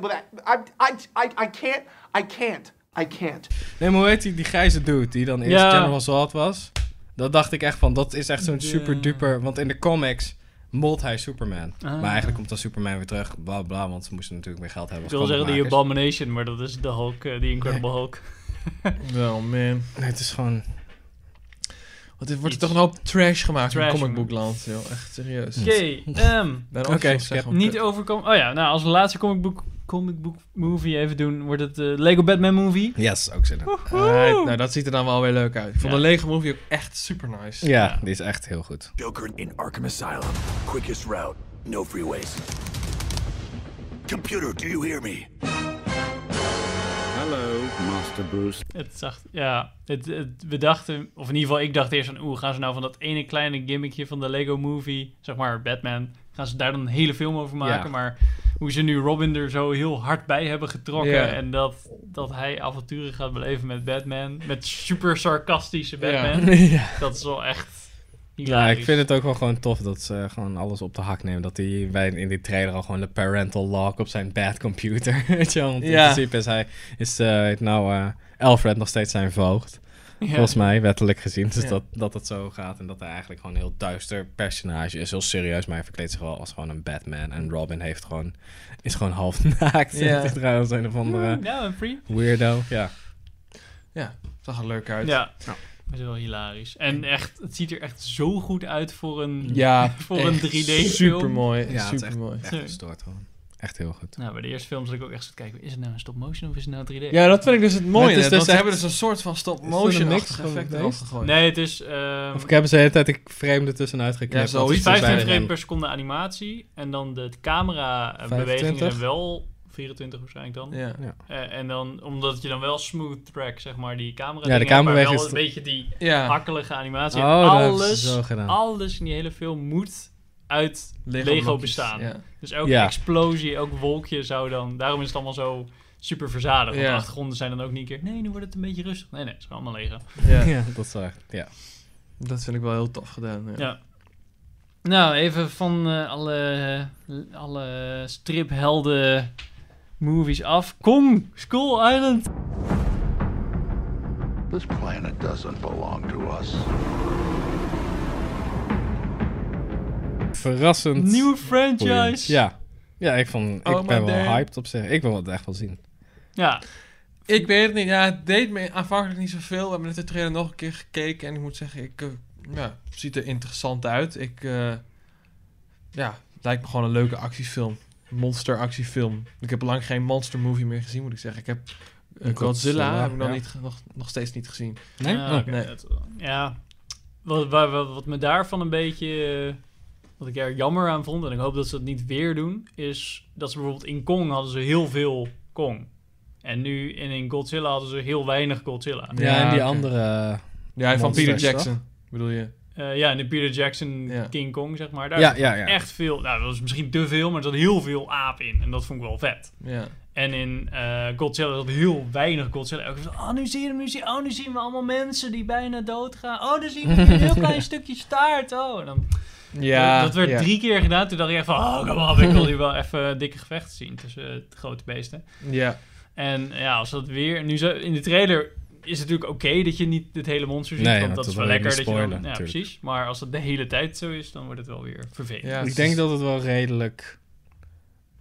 [SPEAKER 7] But I, I, I, I can't. I can't. I can't.
[SPEAKER 3] Nee, maar hoe heet die, die grijze dude die dan eerst
[SPEAKER 1] Ja.
[SPEAKER 3] General Zod was? Dat dacht ik echt van, dat is echt zo'n
[SPEAKER 2] Ja.
[SPEAKER 3] super duper... Want in de comics molt hij Superman.
[SPEAKER 1] Ah.
[SPEAKER 3] Maar eigenlijk komt dan Superman weer terug, bla bla, want ze moesten natuurlijk meer geld hebben.
[SPEAKER 1] Ik wil
[SPEAKER 3] als
[SPEAKER 1] zeggen die
[SPEAKER 3] comic-makers.
[SPEAKER 1] Abomination, maar dat is de Hulk, eh, die Incredible Hulk.
[SPEAKER 2] Wel, man.
[SPEAKER 3] Nee, het is gewoon...
[SPEAKER 2] Want dit wordt
[SPEAKER 1] Iets.
[SPEAKER 2] toch een hoop trash gemaakt
[SPEAKER 1] Trash,
[SPEAKER 2] in
[SPEAKER 1] man.
[SPEAKER 2] comicbookland, joh. Echt serieus.
[SPEAKER 1] Oké, ehm,
[SPEAKER 2] Oké,
[SPEAKER 3] Oké, skip.
[SPEAKER 1] niet overkomen. Oh ja, nou, als we de laatste comic book, comic book movie even doen, wordt het eh, Lego Batman movie.
[SPEAKER 3] Yes, ook zin in.
[SPEAKER 2] nou, dat ziet er dan wel weer leuk uit. Ik vond
[SPEAKER 1] Ja.
[SPEAKER 2] de lege movie ook echt super nice.
[SPEAKER 3] Ja, die is echt heel goed.
[SPEAKER 8] Joker in Arkham Asylum. Quickest route, no freeways. Computer, do you hear me?
[SPEAKER 9] Hello, Master Bruce.
[SPEAKER 1] Het zag, ja, het, het, we dachten, of in ieder geval ik dacht eerst van, oeh, gaan ze nou van dat ene kleine gimmickje van de Lego Movie, zeg maar Batman, gaan ze daar dan een hele film over maken?
[SPEAKER 3] Ja.
[SPEAKER 1] Maar hoe ze nu Robin er zo heel hard bij hebben getrokken
[SPEAKER 2] Ja.
[SPEAKER 1] en dat, dat hij avonturen gaat beleven met Batman, met super sarcastische
[SPEAKER 2] Ja.
[SPEAKER 1] Batman,
[SPEAKER 3] [LAUGHS] ja.
[SPEAKER 1] dat is wel echt
[SPEAKER 3] Ja, ik vind het ook wel gewoon tof dat ze eh, gewoon alles op de hak nemen. Dat hij bij, in die trailer al gewoon de parental lock op zijn bad computer. [LAUGHS] Weet je wel? Want
[SPEAKER 2] Ja.
[SPEAKER 3] in principe is hij, is eh, nou eh, Alfred nog steeds zijn voogd. Volgens mij, wettelijk gezien. Dus
[SPEAKER 2] Ja.
[SPEAKER 3] dat, dat het zo gaat en dat hij eigenlijk gewoon een heel duister personage is. Heel serieus, maar hij verkleedt zich wel als gewoon een Batman. En Robin heeft gewoon, is gewoon half [LAUGHS] naakt.
[SPEAKER 2] Ja.
[SPEAKER 3] Ja. Trouwens, een of andere
[SPEAKER 1] Ja, een free.
[SPEAKER 3] weirdo. Ja.
[SPEAKER 2] Ja, zag er leuk uit.
[SPEAKER 1] Ja. Dat is wel hilarisch. En echt, het ziet er echt zo goed uit voor een...
[SPEAKER 2] Ja,
[SPEAKER 1] [LAUGHS] Voor een 3D-film.
[SPEAKER 2] Super mooi.
[SPEAKER 3] Ja, het is
[SPEAKER 2] super mooi.
[SPEAKER 3] Echt gestoord gewoon. Echt heel goed.
[SPEAKER 1] Nou, bij de eerste films zat ik ook echt zo te kijken, is het nou een stop-motion of is het nou 3D?
[SPEAKER 2] Ja, dat vind ik dus het mooie.
[SPEAKER 3] Het is
[SPEAKER 2] net,
[SPEAKER 3] dus
[SPEAKER 2] want ze
[SPEAKER 3] echt-
[SPEAKER 2] hebben dus een soort van
[SPEAKER 3] Is er
[SPEAKER 2] stop-motion
[SPEAKER 3] niks
[SPEAKER 2] niks
[SPEAKER 3] van
[SPEAKER 2] effect
[SPEAKER 3] geweest?
[SPEAKER 2] eraf gegooid.
[SPEAKER 1] Nee, het is... ehm
[SPEAKER 3] Of ik heb ze de hele tijd ik frame er tussenuit geknipt.
[SPEAKER 2] Ja,
[SPEAKER 3] want
[SPEAKER 2] zoiets.
[SPEAKER 3] ze zijn
[SPEAKER 1] 25
[SPEAKER 2] bij
[SPEAKER 1] frame
[SPEAKER 3] erin.
[SPEAKER 1] per seconde animatie. En dan de camera-bewegingen
[SPEAKER 3] 25?
[SPEAKER 1] zijn wel 24 waarschijnlijk dan.
[SPEAKER 2] Ja.
[SPEAKER 1] Eh, en dan, omdat je dan wel smooth track, zeg maar, die camera
[SPEAKER 3] Ja, de
[SPEAKER 1] dingen hebt, maar
[SPEAKER 3] cameraweg
[SPEAKER 1] wel
[SPEAKER 3] is
[SPEAKER 1] een beetje die
[SPEAKER 2] ja,
[SPEAKER 1] hakkelige animatie.
[SPEAKER 3] Oh, dat hebben ze
[SPEAKER 1] alles,
[SPEAKER 3] zo gedaan.
[SPEAKER 1] alles in die hele film moet uit Lego,
[SPEAKER 2] blokjes,
[SPEAKER 1] bestaan.
[SPEAKER 2] Ja.
[SPEAKER 1] Dus elke
[SPEAKER 3] Ja.
[SPEAKER 1] explosie, elk wolkje zou dan... Daarom is het allemaal zo super verzadigd. Want
[SPEAKER 2] Ja.
[SPEAKER 1] de achtergronden zijn dan ook niet een keer... Nee, nu wordt het een beetje rustig. Nee, nee, het is gewoon allemaal Lego.
[SPEAKER 3] [LAUGHS]
[SPEAKER 2] Ja.
[SPEAKER 3] Ja, dat is echt. Ja.
[SPEAKER 2] Dat vind ik wel heel tof gedaan. Ja.
[SPEAKER 1] Ja. Nou, even van eh, alle, alle striphelden movies af. Kong, Skull Island.
[SPEAKER 8] This planet doesn't belong to us.
[SPEAKER 3] Verrassend.
[SPEAKER 1] Nieuwe
[SPEAKER 3] boeiend.
[SPEAKER 1] franchise.
[SPEAKER 3] Ja. Ja, ik, vond, ik
[SPEAKER 2] Oh, my
[SPEAKER 3] ben wel
[SPEAKER 2] damn.
[SPEAKER 3] hyped op zich. Ik wil het echt wel zien.
[SPEAKER 1] Ja,
[SPEAKER 2] Ik weet het niet. Ja, het deed me aanvankelijk niet zoveel. We hebben net de trailer nog een keer gekeken. En ik moet zeggen, ik, eh, ja, het ziet er interessant uit. Ik, eh, ja, het lijkt me gewoon een leuke actiefilm. Monster actiefilm. Ik heb lang geen monster movie meer gezien, moet ik zeggen. Ik heb eh,
[SPEAKER 3] Godzilla,
[SPEAKER 2] Godzilla, heb ik nog,
[SPEAKER 3] ja.
[SPEAKER 2] niet, ge- nog, nog steeds niet gezien.
[SPEAKER 3] Nee?
[SPEAKER 1] Ja,
[SPEAKER 3] Oh.
[SPEAKER 1] Ah, oké,
[SPEAKER 2] Nee.
[SPEAKER 1] dat- ja. Wat, wat, wat, wat me daarvan een beetje... eh, Wat ik er jammer aan vond, en ik hoop dat ze dat niet weer doen... is dat ze bijvoorbeeld in Kong hadden ze heel veel Kong. En nu en in Godzilla hadden ze heel weinig Godzilla.
[SPEAKER 3] Ja,
[SPEAKER 2] Ja,
[SPEAKER 3] en die
[SPEAKER 2] oké.
[SPEAKER 3] andere... eh,
[SPEAKER 2] Ja, van
[SPEAKER 3] Monsters,
[SPEAKER 2] Peter Jackson, bedoel je?
[SPEAKER 1] Eh, ja, en de Peter Jackson
[SPEAKER 2] Ja.
[SPEAKER 1] King Kong, zeg maar. Daar
[SPEAKER 3] Ja, ja, ja.
[SPEAKER 1] echt veel. Nou, dat was misschien te veel, maar er zat heel veel aap in. En dat vond ik wel vet.
[SPEAKER 2] Ja.
[SPEAKER 1] En in eh, Godzilla zat heel weinig Godzilla. Elke keer van, oh, nu zie je hem, nu zie je, oh, nu zien we allemaal mensen die bijna doodgaan. Oh, daar zien we een
[SPEAKER 3] [LAUGHS]
[SPEAKER 1] heel klein stukje staart. Oh, en dan,
[SPEAKER 2] Ja,
[SPEAKER 1] dat werd
[SPEAKER 2] ja.
[SPEAKER 1] drie keer gedaan. Toen dacht ik echt van, oh, kom op, ik wil hier wel even dikke gevechten zien tussen eh, grote beesten.
[SPEAKER 2] Ja,
[SPEAKER 1] En ja, als dat weer... Nu zo, in de trailer is het natuurlijk oké dat je niet het hele monster ziet.
[SPEAKER 3] Nee,
[SPEAKER 1] want
[SPEAKER 3] want
[SPEAKER 1] dat
[SPEAKER 3] dat
[SPEAKER 1] is wel
[SPEAKER 3] wil je
[SPEAKER 1] lekker.
[SPEAKER 3] niet
[SPEAKER 1] Dat je dan,
[SPEAKER 3] spoilen,
[SPEAKER 1] ja,
[SPEAKER 3] natuurlijk.
[SPEAKER 1] precies. Maar als dat de hele tijd zo is, dan wordt het wel weer vervelend.
[SPEAKER 2] ja. dus
[SPEAKER 3] Ik denk dat het wel redelijk...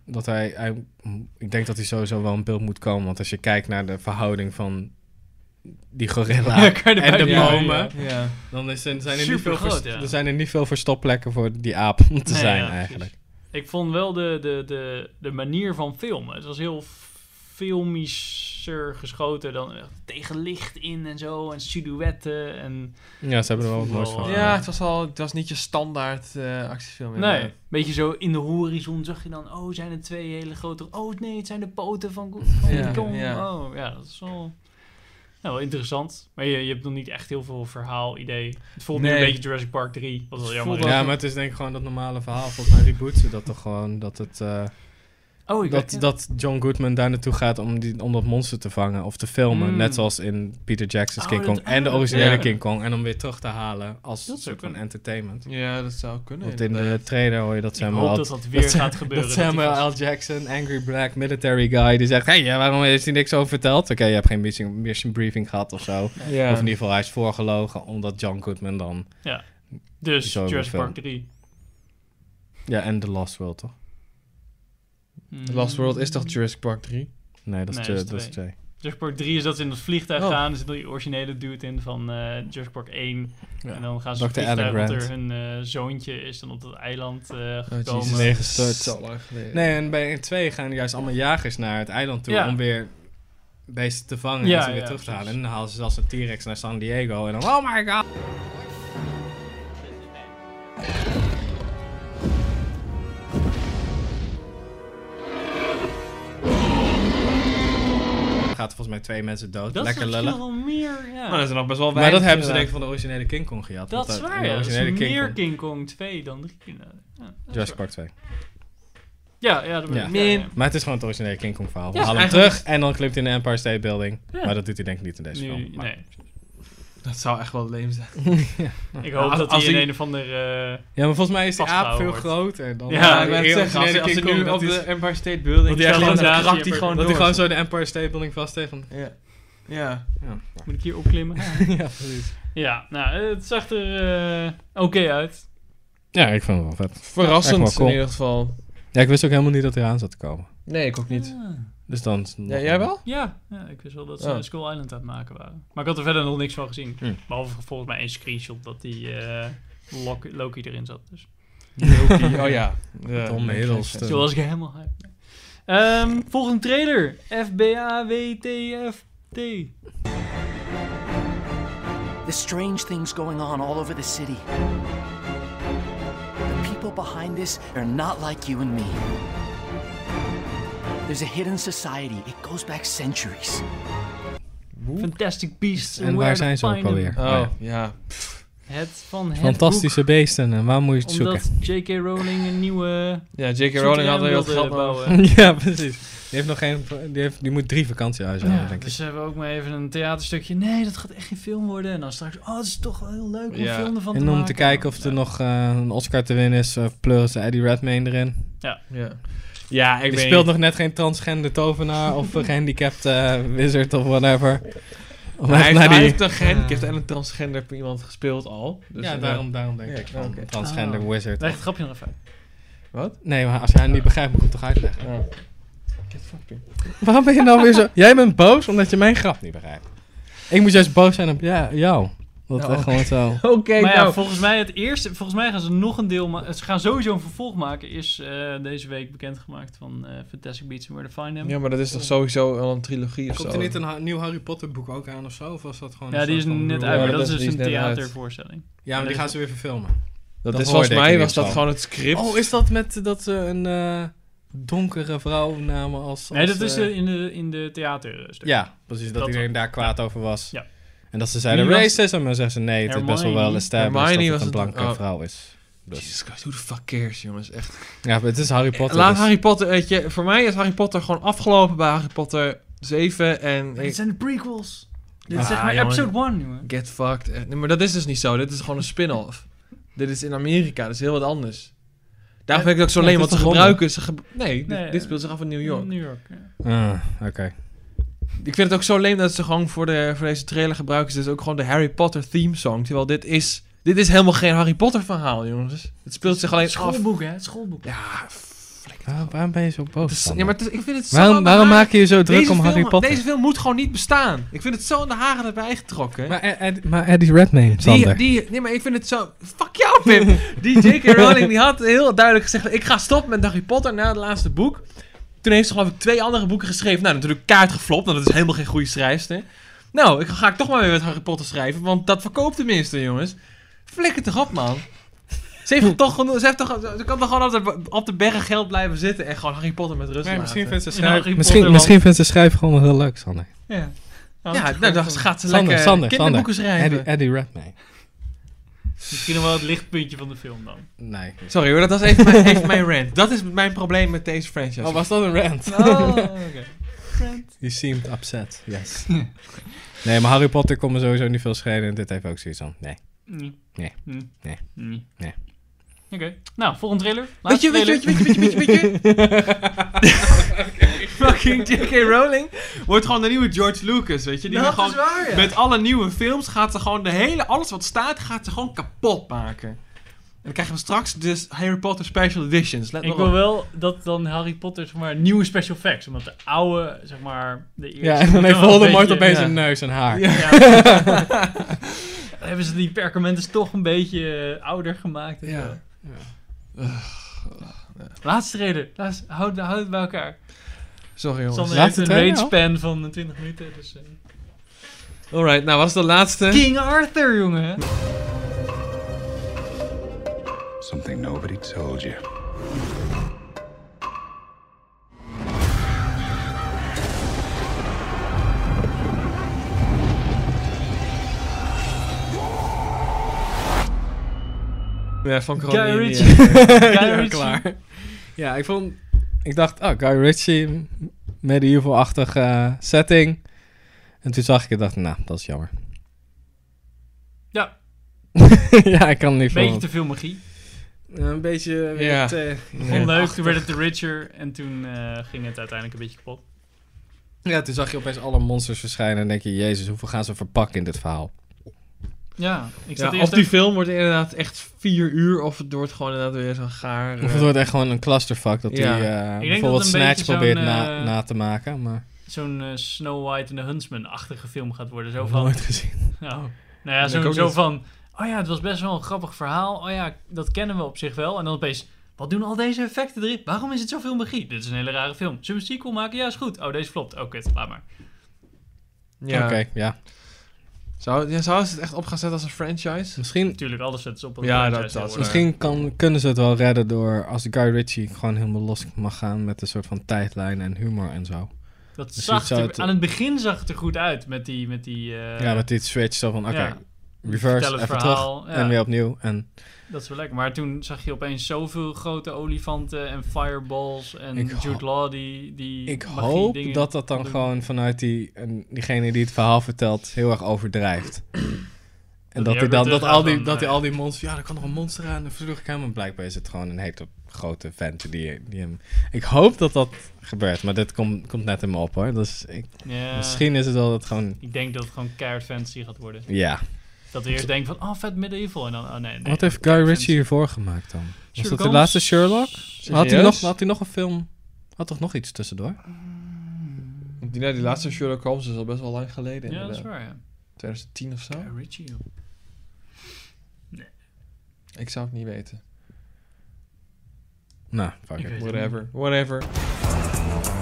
[SPEAKER 3] Dat hij, hij... Ik denk dat hij sowieso wel in beeld moet komen. Want als je kijkt naar de verhouding van die gorilla
[SPEAKER 1] Ja, kan je
[SPEAKER 3] en de
[SPEAKER 1] erbij- ja,
[SPEAKER 3] bomen...
[SPEAKER 1] ja.
[SPEAKER 2] Ja.
[SPEAKER 3] Dan is, zijn er, niet
[SPEAKER 1] Super
[SPEAKER 3] veel
[SPEAKER 1] groot,
[SPEAKER 3] vers-
[SPEAKER 1] ja.
[SPEAKER 3] er zijn er niet veel verstopplekken voor die aap [LAUGHS] om te
[SPEAKER 1] Nee,
[SPEAKER 3] zijn
[SPEAKER 1] ja, precies.
[SPEAKER 3] eigenlijk.
[SPEAKER 1] Ik vond wel de, de, de, de manier van filmen. Het was heel filmischer geschoten dan echt tegen licht in en zo. En silhouetten en...
[SPEAKER 3] Ja, ze hebben er wel wat moois van.
[SPEAKER 1] Voetbal,
[SPEAKER 2] ja,
[SPEAKER 3] gemaakt.
[SPEAKER 2] het was, al, het was niet je standaard eh, actiefilm.
[SPEAKER 1] Nee,
[SPEAKER 2] inderdaad.
[SPEAKER 1] beetje zo in de horizon zag je dan... Oh, zijn er twee hele grote... Oh nee, het zijn de poten van, Go- van
[SPEAKER 2] Ja,
[SPEAKER 1] Kong.
[SPEAKER 2] ja.
[SPEAKER 1] Oh, ja, dat is wel... Nou, wel interessant. Maar je, je hebt nog niet echt heel veel verhaal, idee. Het voelt nu
[SPEAKER 2] Nee.
[SPEAKER 1] een beetje Jurassic Park 3. Wat wel
[SPEAKER 2] Het
[SPEAKER 1] jammer is.
[SPEAKER 2] voelt wel-
[SPEAKER 3] Ja, maar het is denk ik gewoon dat normale verhaal. Volgens mij rebooten ze dat toch gewoon. Dat, het, eh,
[SPEAKER 1] Oh, ik
[SPEAKER 3] dat,
[SPEAKER 1] weet-
[SPEAKER 3] dat John Goodman daar naartoe gaat om, die, om dat monster te vangen of te filmen.
[SPEAKER 1] Mm.
[SPEAKER 3] Net zoals in Peter Jackson's
[SPEAKER 1] Oh,
[SPEAKER 3] King
[SPEAKER 1] dat-
[SPEAKER 3] Kong en de originele
[SPEAKER 2] Ja.
[SPEAKER 3] King Kong. En om weer terug te halen
[SPEAKER 1] Dat
[SPEAKER 3] als een
[SPEAKER 1] zou
[SPEAKER 3] soort van
[SPEAKER 1] kunnen.
[SPEAKER 3] entertainment.
[SPEAKER 2] Ja, dat zou kunnen.
[SPEAKER 3] Want in de
[SPEAKER 2] inderdaad.
[SPEAKER 3] trailer hoor je dat
[SPEAKER 1] Ik
[SPEAKER 3] Samuel
[SPEAKER 1] hoop
[SPEAKER 3] L.
[SPEAKER 1] dat dat weer gaat gebeuren.
[SPEAKER 3] dat
[SPEAKER 1] dat die
[SPEAKER 3] Samuel
[SPEAKER 1] gast-
[SPEAKER 3] L. Jackson, angry black military guy, die zegt: Hé, hey, ja, waarom heeft hij niks over verteld? Oké, je hebt geen mission, mission briefing gehad of zo.
[SPEAKER 2] ja.
[SPEAKER 3] Of in ieder geval, hij is voorgelogen omdat John Goodman dan.
[SPEAKER 1] Dus
[SPEAKER 3] Zo
[SPEAKER 1] Jurassic
[SPEAKER 3] film.
[SPEAKER 1] Park 3.
[SPEAKER 3] Ja, en The Lost World toch?
[SPEAKER 1] Mm.
[SPEAKER 2] The Last World is toch Jurassic Park 3?
[SPEAKER 3] Nee, dat
[SPEAKER 1] Nee,
[SPEAKER 3] is, Ju-
[SPEAKER 1] dat is
[SPEAKER 3] dat is
[SPEAKER 1] twee.
[SPEAKER 3] Jay.
[SPEAKER 1] Jurassic Park 3 is dat ze in het vliegtuig
[SPEAKER 2] Oh.
[SPEAKER 1] gaan. Er zit nog die originele dude in van eh Jurassic Park 1.
[SPEAKER 3] Ja.
[SPEAKER 1] En dan gaan ze
[SPEAKER 3] Dr.
[SPEAKER 1] het vliegtuig,
[SPEAKER 3] Alan
[SPEAKER 1] want
[SPEAKER 3] Grant.
[SPEAKER 1] er hun eh, zoontje is dan op dat eiland eh, gekomen.
[SPEAKER 2] Jesus.
[SPEAKER 3] Neergestort.
[SPEAKER 2] Zo lang geleden.
[SPEAKER 3] Nee, en bij in twee gaan juist allemaal jagers naar het eiland toe
[SPEAKER 1] Ja.
[SPEAKER 3] om weer beesten te vangen
[SPEAKER 1] Ja,
[SPEAKER 3] en ze weer
[SPEAKER 1] ja,
[SPEAKER 3] terug te
[SPEAKER 1] precies.
[SPEAKER 3] halen. En dan halen ze zelfs een T-Rex naar San Diego en dan oh my god. Gaat er volgens mij twee mensen dood.
[SPEAKER 1] Dat
[SPEAKER 3] Lekker
[SPEAKER 1] is
[SPEAKER 3] lullen.
[SPEAKER 1] misschien nog wel meer, ja.
[SPEAKER 2] Maar dat is er nog best wel
[SPEAKER 3] Maar
[SPEAKER 2] weinig. eh,
[SPEAKER 3] dat hebben ze denk
[SPEAKER 2] inderdaad.
[SPEAKER 3] ik van de originele King Kong gehad.
[SPEAKER 1] dat
[SPEAKER 3] want
[SPEAKER 1] is
[SPEAKER 3] dat-
[SPEAKER 1] waar,
[SPEAKER 3] de
[SPEAKER 1] ja. Dat is
[SPEAKER 3] originele
[SPEAKER 1] meer
[SPEAKER 3] King Kong.
[SPEAKER 1] King Kong 2 dan 3. Ja, dat is
[SPEAKER 3] Jurassic
[SPEAKER 1] waar.
[SPEAKER 3] Park 2.
[SPEAKER 1] Ja, ja, dat
[SPEAKER 3] Ja.
[SPEAKER 1] bedoel ik, ja,
[SPEAKER 2] Min.
[SPEAKER 3] Maar het is gewoon het originele King Kong verhaal. We
[SPEAKER 2] Ja,
[SPEAKER 3] halen hem
[SPEAKER 2] eigenlijk-
[SPEAKER 3] terug en dan klimt hij in de Empire State Building.
[SPEAKER 1] Ja.
[SPEAKER 3] Maar dat doet hij denk ik niet in deze
[SPEAKER 1] ja. Nu,
[SPEAKER 3] film. Maar
[SPEAKER 1] nee.
[SPEAKER 2] Dat zou echt wel leem zijn.
[SPEAKER 1] Ik hoop
[SPEAKER 2] als-
[SPEAKER 1] dat hij
[SPEAKER 2] als
[SPEAKER 1] in
[SPEAKER 2] die-
[SPEAKER 1] een of ander... eh,
[SPEAKER 3] Ja, maar volgens mij is die aap
[SPEAKER 1] Vastgehouden
[SPEAKER 3] veel
[SPEAKER 1] wordt.
[SPEAKER 3] groter dan...
[SPEAKER 1] Ja,
[SPEAKER 3] dan
[SPEAKER 1] ik
[SPEAKER 3] de
[SPEAKER 2] wou net
[SPEAKER 3] eerste
[SPEAKER 2] zeggen, als-
[SPEAKER 3] King
[SPEAKER 2] als hij
[SPEAKER 3] Kong,
[SPEAKER 2] nu
[SPEAKER 3] dat
[SPEAKER 2] op
[SPEAKER 3] is-
[SPEAKER 2] de Empire State Building
[SPEAKER 3] Dat hij echt
[SPEAKER 2] staat,
[SPEAKER 1] gewoon
[SPEAKER 2] dan
[SPEAKER 1] daar-
[SPEAKER 2] krakt hij gewoon
[SPEAKER 3] Dat
[SPEAKER 2] door.
[SPEAKER 3] hij gewoon zo de Empire State Building vast heeft. van-
[SPEAKER 2] Ja. Ja.
[SPEAKER 3] Ja,
[SPEAKER 1] Moet ik hier opklimmen?
[SPEAKER 3] ja precies.
[SPEAKER 1] ja, nou, het zag er eh, oké uit.
[SPEAKER 3] Ja, ik vond het wel vet.
[SPEAKER 2] Verrassend
[SPEAKER 3] Echt wel cool.
[SPEAKER 2] in ieder geval.
[SPEAKER 3] Ja, ik wist ook helemaal niet dat hij aan zat te komen.
[SPEAKER 2] Nee, ik ook niet.
[SPEAKER 1] Ah.
[SPEAKER 3] Dus dan...
[SPEAKER 2] Ja, jij wel?
[SPEAKER 1] Ja, ja, ik wist wel dat ze
[SPEAKER 2] Oh.
[SPEAKER 1] Skull Island aan het maken waren. Maar ik had er verder nog niks van gezien.
[SPEAKER 3] Hmm.
[SPEAKER 1] Behalve volgens mij een screenshot dat die eh, Loki, Loki erin zat. Dus
[SPEAKER 3] Hm.
[SPEAKER 2] oh [LAUGHS] ja. Ja,
[SPEAKER 3] Tom
[SPEAKER 2] nee,
[SPEAKER 3] Hiddleston.
[SPEAKER 2] geen
[SPEAKER 1] toen was ik helemaal hyped. Ehm, volgende trailer. FBAWTFT.
[SPEAKER 9] There's strange things going on all over the city. The people behind this are not like you and me. There's a hidden society. It goes back centuries.
[SPEAKER 1] Fantastic Beasts. and
[SPEAKER 3] En
[SPEAKER 1] Where
[SPEAKER 3] waar
[SPEAKER 1] to
[SPEAKER 3] zijn ze ook
[SPEAKER 1] Find Them.
[SPEAKER 3] alweer?
[SPEAKER 2] sense. Oh, ja.
[SPEAKER 1] Het van het
[SPEAKER 3] Fantastische beesten. En waar moet je het
[SPEAKER 1] boek,
[SPEAKER 3] zoeken?
[SPEAKER 1] Omdat J.K. Rowling een nieuwe...
[SPEAKER 2] Ja, J.K.
[SPEAKER 1] zoete
[SPEAKER 2] Rowling had
[SPEAKER 1] lijn
[SPEAKER 2] heel wat
[SPEAKER 1] wilde
[SPEAKER 2] geld nodig.
[SPEAKER 1] bouwen.
[SPEAKER 3] [LAUGHS] ja, precies. Die heeft nog geen... Die, heeft, die moet drie vakantiehuizen
[SPEAKER 1] Ja,
[SPEAKER 3] hebben, denk ik.
[SPEAKER 1] dus ze hebben ook maar even een theaterstukje. Nee, dat gaat echt geen film worden. En dan straks, oh, het is toch wel heel leuk om
[SPEAKER 2] Ja.
[SPEAKER 1] film ervan te
[SPEAKER 3] En
[SPEAKER 1] maken.
[SPEAKER 3] om te kijken of er nog eh, een Oscar te winnen is, eh, plus Eddie Redmayne erin.
[SPEAKER 2] Ja, ja ik
[SPEAKER 3] Die
[SPEAKER 2] weet
[SPEAKER 3] speelt
[SPEAKER 2] niet.
[SPEAKER 3] nog net geen transgender tovenaar [LAUGHS] of een gehandicapt eh, wizard of whatever. Om
[SPEAKER 2] Hij
[SPEAKER 3] even
[SPEAKER 2] heeft,
[SPEAKER 3] naar
[SPEAKER 2] hij
[SPEAKER 3] die-
[SPEAKER 2] heeft een gehandicapt en een transgender iemand gespeeld al. Dus
[SPEAKER 3] ja, Oh.
[SPEAKER 2] eh,
[SPEAKER 3] daarom, daarom denk
[SPEAKER 2] Ja,
[SPEAKER 3] ik van
[SPEAKER 2] oké.
[SPEAKER 3] transgender
[SPEAKER 1] Ah.
[SPEAKER 3] wizard.
[SPEAKER 1] Leg het grapje nog even uit.
[SPEAKER 2] Wat?
[SPEAKER 3] Nee, maar als jij het niet begrijpt, moet ik het toch uitleggen.
[SPEAKER 2] Ja. Get fucked, man.
[SPEAKER 3] [LAUGHS] Waarom ben je nou weer zo... Jij bent boos omdat je mijn grap niet begrijpt. Ik moet juist boos zijn op ja, jou. Dat
[SPEAKER 2] Ja,
[SPEAKER 3] is echt
[SPEAKER 2] oké.
[SPEAKER 3] gewoon [LAUGHS] zo...
[SPEAKER 2] Oké,
[SPEAKER 1] maar ja,
[SPEAKER 2] nou.
[SPEAKER 1] volgens mij het eerste... Volgens mij gaan ze nog een deel... ma- Ze gaan sowieso een vervolg maken. Is eh, deze week bekendgemaakt van eh, Fantastic Beasts and Where to Find Them.
[SPEAKER 2] Ja, maar dat is toch sowieso al een trilogie of zo?
[SPEAKER 3] een nieuw Harry Potter boek ook aan of zo? Of was dat gewoon
[SPEAKER 1] Ja, die is net uit,
[SPEAKER 2] Ja,
[SPEAKER 1] maar
[SPEAKER 2] dat
[SPEAKER 1] dat is
[SPEAKER 2] is-
[SPEAKER 1] dus
[SPEAKER 2] die is
[SPEAKER 1] een
[SPEAKER 2] net uit.
[SPEAKER 1] theatervoorstelling.
[SPEAKER 3] Ja,
[SPEAKER 1] maar die gaan
[SPEAKER 3] ze weer verfilmen.
[SPEAKER 2] Dat
[SPEAKER 3] Dat
[SPEAKER 2] is volgens
[SPEAKER 3] hoorde ik
[SPEAKER 2] mij
[SPEAKER 3] in
[SPEAKER 2] was
[SPEAKER 3] ieder
[SPEAKER 2] dat
[SPEAKER 3] geval.
[SPEAKER 2] gewoon het script.
[SPEAKER 3] Oh, is dat met dat ze een eh, donkere vrouw namen als...
[SPEAKER 1] Nee,
[SPEAKER 3] als,
[SPEAKER 1] dat is
[SPEAKER 3] eh,
[SPEAKER 1] eh, in de, in de theaterstuk.
[SPEAKER 3] Ja, precies. Dat,
[SPEAKER 1] Dat
[SPEAKER 3] iedereen daar kwaad over was.
[SPEAKER 1] Ja.
[SPEAKER 3] En dat ze zeiden
[SPEAKER 1] Wie was-
[SPEAKER 3] racism. En dan zeggen ze nee, het is best wel wel
[SPEAKER 1] Hermione.
[SPEAKER 3] established
[SPEAKER 2] Hermione
[SPEAKER 3] dat
[SPEAKER 2] was
[SPEAKER 3] het een
[SPEAKER 2] het-
[SPEAKER 3] blanke
[SPEAKER 2] oh.
[SPEAKER 3] vrouw is. Dus.
[SPEAKER 2] Jesus Christ, who the fuck cares, jongens? Echt.
[SPEAKER 3] Ja, maar het is Harry Potter.
[SPEAKER 2] Eh, Laat
[SPEAKER 3] dus-
[SPEAKER 2] Harry Potter, weet je, voor mij is Harry Potter gewoon afgelopen bij Harry Potter 7 en
[SPEAKER 1] Maar dit
[SPEAKER 2] ik,
[SPEAKER 1] zijn de prequels. Dit is
[SPEAKER 2] Ah,
[SPEAKER 1] zeg maar
[SPEAKER 2] jongen.
[SPEAKER 1] episode 1, jongen.
[SPEAKER 2] Get Fucked. Eh, Nee, maar dat is dus niet zo, dit is gewoon een spin-off. dit is in Amerika, dat is heel wat anders. Daarom vind ik het ook zo
[SPEAKER 3] Ja,
[SPEAKER 2] leem,
[SPEAKER 3] het
[SPEAKER 2] want ze
[SPEAKER 3] is toch Londen?
[SPEAKER 2] gebruiken... Ze ge- nee, dit,
[SPEAKER 1] Nee,
[SPEAKER 2] dit
[SPEAKER 1] eh,
[SPEAKER 2] speelt zich af in New York.
[SPEAKER 1] New York, ja.
[SPEAKER 3] Ah, oké.
[SPEAKER 2] Ik vind het ook zo leem dat ze gewoon voor, de, voor deze trailer gebruiken... ze dus ook gewoon de Harry Potter theme song. Terwijl dit is... Dit is helemaal geen Harry Potter verhaal, jongens. Het speelt zich alleen af...
[SPEAKER 1] Schoolboek, hè? Het schoolboek.
[SPEAKER 2] Ja,
[SPEAKER 3] Waarom, waarom ben je zo boos?
[SPEAKER 2] Het is-
[SPEAKER 3] van
[SPEAKER 2] Dus, ja,
[SPEAKER 3] me?
[SPEAKER 2] maar het is- ik vind het zo aan
[SPEAKER 3] waarom
[SPEAKER 2] de
[SPEAKER 3] waarom
[SPEAKER 2] haren-
[SPEAKER 3] maak je je zo druk
[SPEAKER 2] Deze
[SPEAKER 3] om Harry
[SPEAKER 2] film-
[SPEAKER 3] Potter?
[SPEAKER 2] Deze film moet gewoon niet bestaan. Ik vind het zo aan de haren erbij getrokken.
[SPEAKER 3] Maar, Ed- Ed- maar Eddie Redmayne,
[SPEAKER 2] die,
[SPEAKER 3] Sander.
[SPEAKER 2] die, nee, maar ik vind het zo... Fuck jou,
[SPEAKER 3] [LAUGHS]
[SPEAKER 2] Pim! die J.K. Rowling die had heel duidelijk gezegd... Ik ga stoppen met Harry Potter na het laatste boek. Toen heeft ze geloof ik twee andere boeken geschreven. Nou, natuurlijk kaart geflopt, want dat is helemaal geen goede schrijfster. Nou, ik ga ik toch maar weer met Harry Potter schrijven, want dat verkoopt tenminste, jongens. Flikker toch op, man. Ze heeft toch genoeg... Ze, heeft toch, ze kan toch gewoon op de, op de bergen geld blijven zitten en gewoon Harry Potter met rust
[SPEAKER 3] Nee,
[SPEAKER 2] laten.
[SPEAKER 3] misschien vindt ze
[SPEAKER 1] schrijf-
[SPEAKER 3] schrijven
[SPEAKER 1] Harry
[SPEAKER 3] misschien,
[SPEAKER 1] Potterland.
[SPEAKER 3] misschien vindt ze schrijven gewoon wel heel leuk, Sander.
[SPEAKER 1] Ja.
[SPEAKER 2] Ja, nou, dan gaat ze
[SPEAKER 3] Sander,
[SPEAKER 2] lekker
[SPEAKER 3] Sander,
[SPEAKER 2] kinderboeken schrijven.
[SPEAKER 3] Eddie, Eddie Redmayne.
[SPEAKER 1] Misschien nog wel het lichtpuntje van de film dan.
[SPEAKER 3] Nee.
[SPEAKER 2] Sorry hoor, dat was even mijn, even mijn rant. Dat is mijn probleem met deze franchise.
[SPEAKER 3] Oh, was dat een rant?
[SPEAKER 2] oké.
[SPEAKER 3] You seemed upset, yes. nee, maar Harry Potter komt me sowieso niet veel schelen en dit heeft ook zoiets van, nee.
[SPEAKER 1] Nee.
[SPEAKER 3] Nee.
[SPEAKER 1] Nee.
[SPEAKER 3] Nee.
[SPEAKER 1] Nee.
[SPEAKER 3] Nee.
[SPEAKER 1] Oké. Nou, volgende trailer.
[SPEAKER 2] [LAUGHS] Weet
[SPEAKER 1] Laatste
[SPEAKER 2] je, weet je, weet
[SPEAKER 1] trailer.
[SPEAKER 2] je, weet je, weet je, weet je, [LAUGHS] Fucking J.K. Rowling wordt gewoon de nieuwe George Lucas, weet je. Die gaat gewoon, Met alle nieuwe films gaat ze gewoon de hele, alles wat staat, gaat ze gewoon kapot maken. En dan krijgen we straks dus Harry Potter Special Editions. Let
[SPEAKER 1] Ik
[SPEAKER 2] maar
[SPEAKER 1] wil
[SPEAKER 2] op.
[SPEAKER 1] wel dat dan Harry Potter, zeg maar, nieuwe special effects. Omdat de oude, zeg maar, de eerste...
[SPEAKER 3] Ja, en [LAUGHS]
[SPEAKER 1] [LAUGHS]
[SPEAKER 3] dan heeft
[SPEAKER 1] wel een
[SPEAKER 3] Voldemort
[SPEAKER 1] beetje-
[SPEAKER 3] opeens
[SPEAKER 1] ja.
[SPEAKER 3] een neus en haar.
[SPEAKER 1] Ja. Dan [LAUGHS] hebben ze die perkamenten toch een beetje eh, ouder gemaakt. en
[SPEAKER 2] Ja.
[SPEAKER 1] zo. Laatste trailer. Laatste, houd, houd het bij elkaar.
[SPEAKER 2] Sorry jongens.
[SPEAKER 1] Sander heeft
[SPEAKER 3] laatste
[SPEAKER 1] een
[SPEAKER 3] trailer
[SPEAKER 1] range
[SPEAKER 3] al?
[SPEAKER 1] span van eh, 20 minuten. Dus, eh.
[SPEAKER 2] Alright, nou wat is de laatste?
[SPEAKER 1] King Arthur, jongen.
[SPEAKER 6] Something nobody told you.
[SPEAKER 2] Ja, van
[SPEAKER 1] Guy
[SPEAKER 2] Corona.
[SPEAKER 1] Ritchie.
[SPEAKER 2] eh,
[SPEAKER 1] [LAUGHS] Guy Ritchie.
[SPEAKER 3] klaar. Ja, ik vond... Ik dacht, oh, Guy Ritchie, m- medieval-achtige eh, setting. En toen zag ik het en dacht, nou, dat is jammer.
[SPEAKER 1] Ja,
[SPEAKER 3] [LAUGHS] ja, ik kan hem niet
[SPEAKER 1] een beetje
[SPEAKER 3] voor.
[SPEAKER 1] te veel magie.
[SPEAKER 3] Een beetje... eh,
[SPEAKER 2] Ja.
[SPEAKER 3] te-
[SPEAKER 1] Onleuk, toen werd het The Richer en toen eh, ging het uiteindelijk een beetje kapot.
[SPEAKER 3] ja, toen zag je opeens alle monsters verschijnen en denk je... Jezus, hoeveel gaan ze verpakken in dit verhaal?
[SPEAKER 1] Ja, ik
[SPEAKER 2] Ja,
[SPEAKER 1] zat
[SPEAKER 2] of
[SPEAKER 1] eerst
[SPEAKER 2] die
[SPEAKER 1] even-
[SPEAKER 2] film wordt inderdaad echt vier uur, of het wordt gewoon inderdaad weer zo'n gaar. eh,
[SPEAKER 3] Of het wordt echt gewoon een clusterfuck dat
[SPEAKER 2] Ja.
[SPEAKER 3] hij eh,
[SPEAKER 2] Ik
[SPEAKER 1] dat het
[SPEAKER 3] bijvoorbeeld
[SPEAKER 1] een
[SPEAKER 3] Snatch
[SPEAKER 1] beetje zo'n,
[SPEAKER 3] probeert na,
[SPEAKER 1] eh,
[SPEAKER 3] na te maken, maar
[SPEAKER 1] zo'n eh, Snow White en the Huntsman-achtige film gaat worden. Zo van,
[SPEAKER 3] nooit gezien.
[SPEAKER 1] [LAUGHS]
[SPEAKER 3] [LAUGHS]
[SPEAKER 1] nou, nou ja,
[SPEAKER 2] Ik ook
[SPEAKER 1] zo, zo
[SPEAKER 2] niet.
[SPEAKER 1] van, oh ja, het was best wel een grappig verhaal. Oh ja, dat kennen we op zich wel. En dan opeens, wat doen al deze effecten erin? Waarom is het zoveel magie? Dit is een hele rare film. Zullen we een sequel maken? Ja, is goed. Oh, deze flopt. Oh, kut, laat maar.
[SPEAKER 2] ja.
[SPEAKER 3] Oké, ja.
[SPEAKER 2] Zou, ja, zouden ze het echt op gaan zetten als een franchise?
[SPEAKER 3] Misschien,
[SPEAKER 1] Natuurlijk, alles zet ze op een
[SPEAKER 2] Ja,
[SPEAKER 1] franchise
[SPEAKER 2] dat- dat-
[SPEAKER 1] tegenwoordig.
[SPEAKER 3] misschien kan, kunnen ze het wel redden door... Als Guy Ritchie gewoon helemaal los mag gaan met een soort van tijdlijn en humor en zo.
[SPEAKER 1] Dat
[SPEAKER 3] Misschien
[SPEAKER 1] zag
[SPEAKER 3] zou
[SPEAKER 1] er-
[SPEAKER 3] het-
[SPEAKER 1] aan het begin zag het er goed uit met die... Met die eh,
[SPEAKER 3] ja, met dit switch zo van, oké,
[SPEAKER 1] ja.
[SPEAKER 3] reverse,
[SPEAKER 1] Vertel het
[SPEAKER 3] even
[SPEAKER 1] verhaal,
[SPEAKER 3] terug
[SPEAKER 1] ja.
[SPEAKER 3] en weer opnieuw. En
[SPEAKER 1] Dat is wel lekker. Maar toen zag je opeens zoveel grote olifanten en fireballs en
[SPEAKER 3] Ik ho-
[SPEAKER 1] Jude Law die, die
[SPEAKER 3] ik
[SPEAKER 1] magie
[SPEAKER 3] hoop
[SPEAKER 1] dingen
[SPEAKER 3] dat dat dan
[SPEAKER 1] doen.
[SPEAKER 3] gewoon vanuit die, en diegene die het verhaal vertelt heel erg overdrijft.
[SPEAKER 1] [CLEARS THROAT]
[SPEAKER 3] En dat,
[SPEAKER 1] hij
[SPEAKER 3] hij
[SPEAKER 1] ook
[SPEAKER 3] dan,
[SPEAKER 1] weer
[SPEAKER 3] dat,
[SPEAKER 1] teruggaat
[SPEAKER 3] al die,
[SPEAKER 1] van,
[SPEAKER 3] dat hij
[SPEAKER 1] eh,
[SPEAKER 3] al die monsters... Ja, er kan nog een monster aan. En vroeg ik hem. En blijkbaar is het gewoon een hele grote vent die, die hem... Ik hoop dat dat gebeurt. Maar dit komt komt net in me op, hoor. Dus ik,
[SPEAKER 1] Ja,
[SPEAKER 3] misschien is het wel dat gewoon...
[SPEAKER 1] Ik denk dat het gewoon keihard fantasy gaat worden.
[SPEAKER 3] Ja.
[SPEAKER 1] Dat we eerst denken van, oh, vet medieval. En dan, oh nee. nee
[SPEAKER 3] Wat heeft Guy Ritchie hiervoor gemaakt dan? Was dat de
[SPEAKER 1] Holmes?
[SPEAKER 3] laatste Sherlock? Had hij,
[SPEAKER 2] Serieus?
[SPEAKER 3] nog, had hij nog een film... Had toch nog iets tussendoor?
[SPEAKER 2] Want Die, nee, die laatste Sherlock Holmes is al best wel lang geleden.
[SPEAKER 1] Ja, dat is
[SPEAKER 2] inderdaad.
[SPEAKER 1] waar, ja.
[SPEAKER 2] 2010 of zo?
[SPEAKER 1] Guy Ritchie, joh.
[SPEAKER 2] Ik zou het niet weten.
[SPEAKER 3] Nou, fuck
[SPEAKER 1] Ik weet
[SPEAKER 3] it.
[SPEAKER 1] het niet.
[SPEAKER 2] Whatever. Whatever.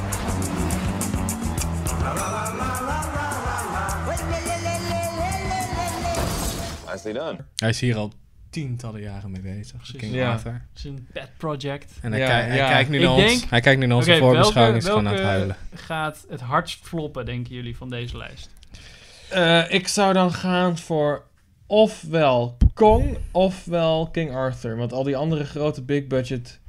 [SPEAKER 10] Nicely done.
[SPEAKER 3] Hij is hier al tientallen jaren mee bezig. dus King
[SPEAKER 2] Ja.
[SPEAKER 3] Arthur.
[SPEAKER 1] Het is een pet project.
[SPEAKER 3] En hij,
[SPEAKER 2] Ja,
[SPEAKER 3] kijk- hij
[SPEAKER 2] ja.
[SPEAKER 3] kijkt nu
[SPEAKER 1] Ik
[SPEAKER 3] naar ons.
[SPEAKER 1] denk-
[SPEAKER 3] Hij kijkt nu naar onze
[SPEAKER 1] Oké,
[SPEAKER 3] voorbeschouwing.
[SPEAKER 1] welke-
[SPEAKER 3] is gewoon aan het
[SPEAKER 1] welke
[SPEAKER 3] huilen.
[SPEAKER 1] Gaat het hardst floppen, denken jullie, van deze lijst?
[SPEAKER 2] Eh, ik zou dan gaan voor ofwel Kong, ofwel King Arthur. Want al die andere grote big budget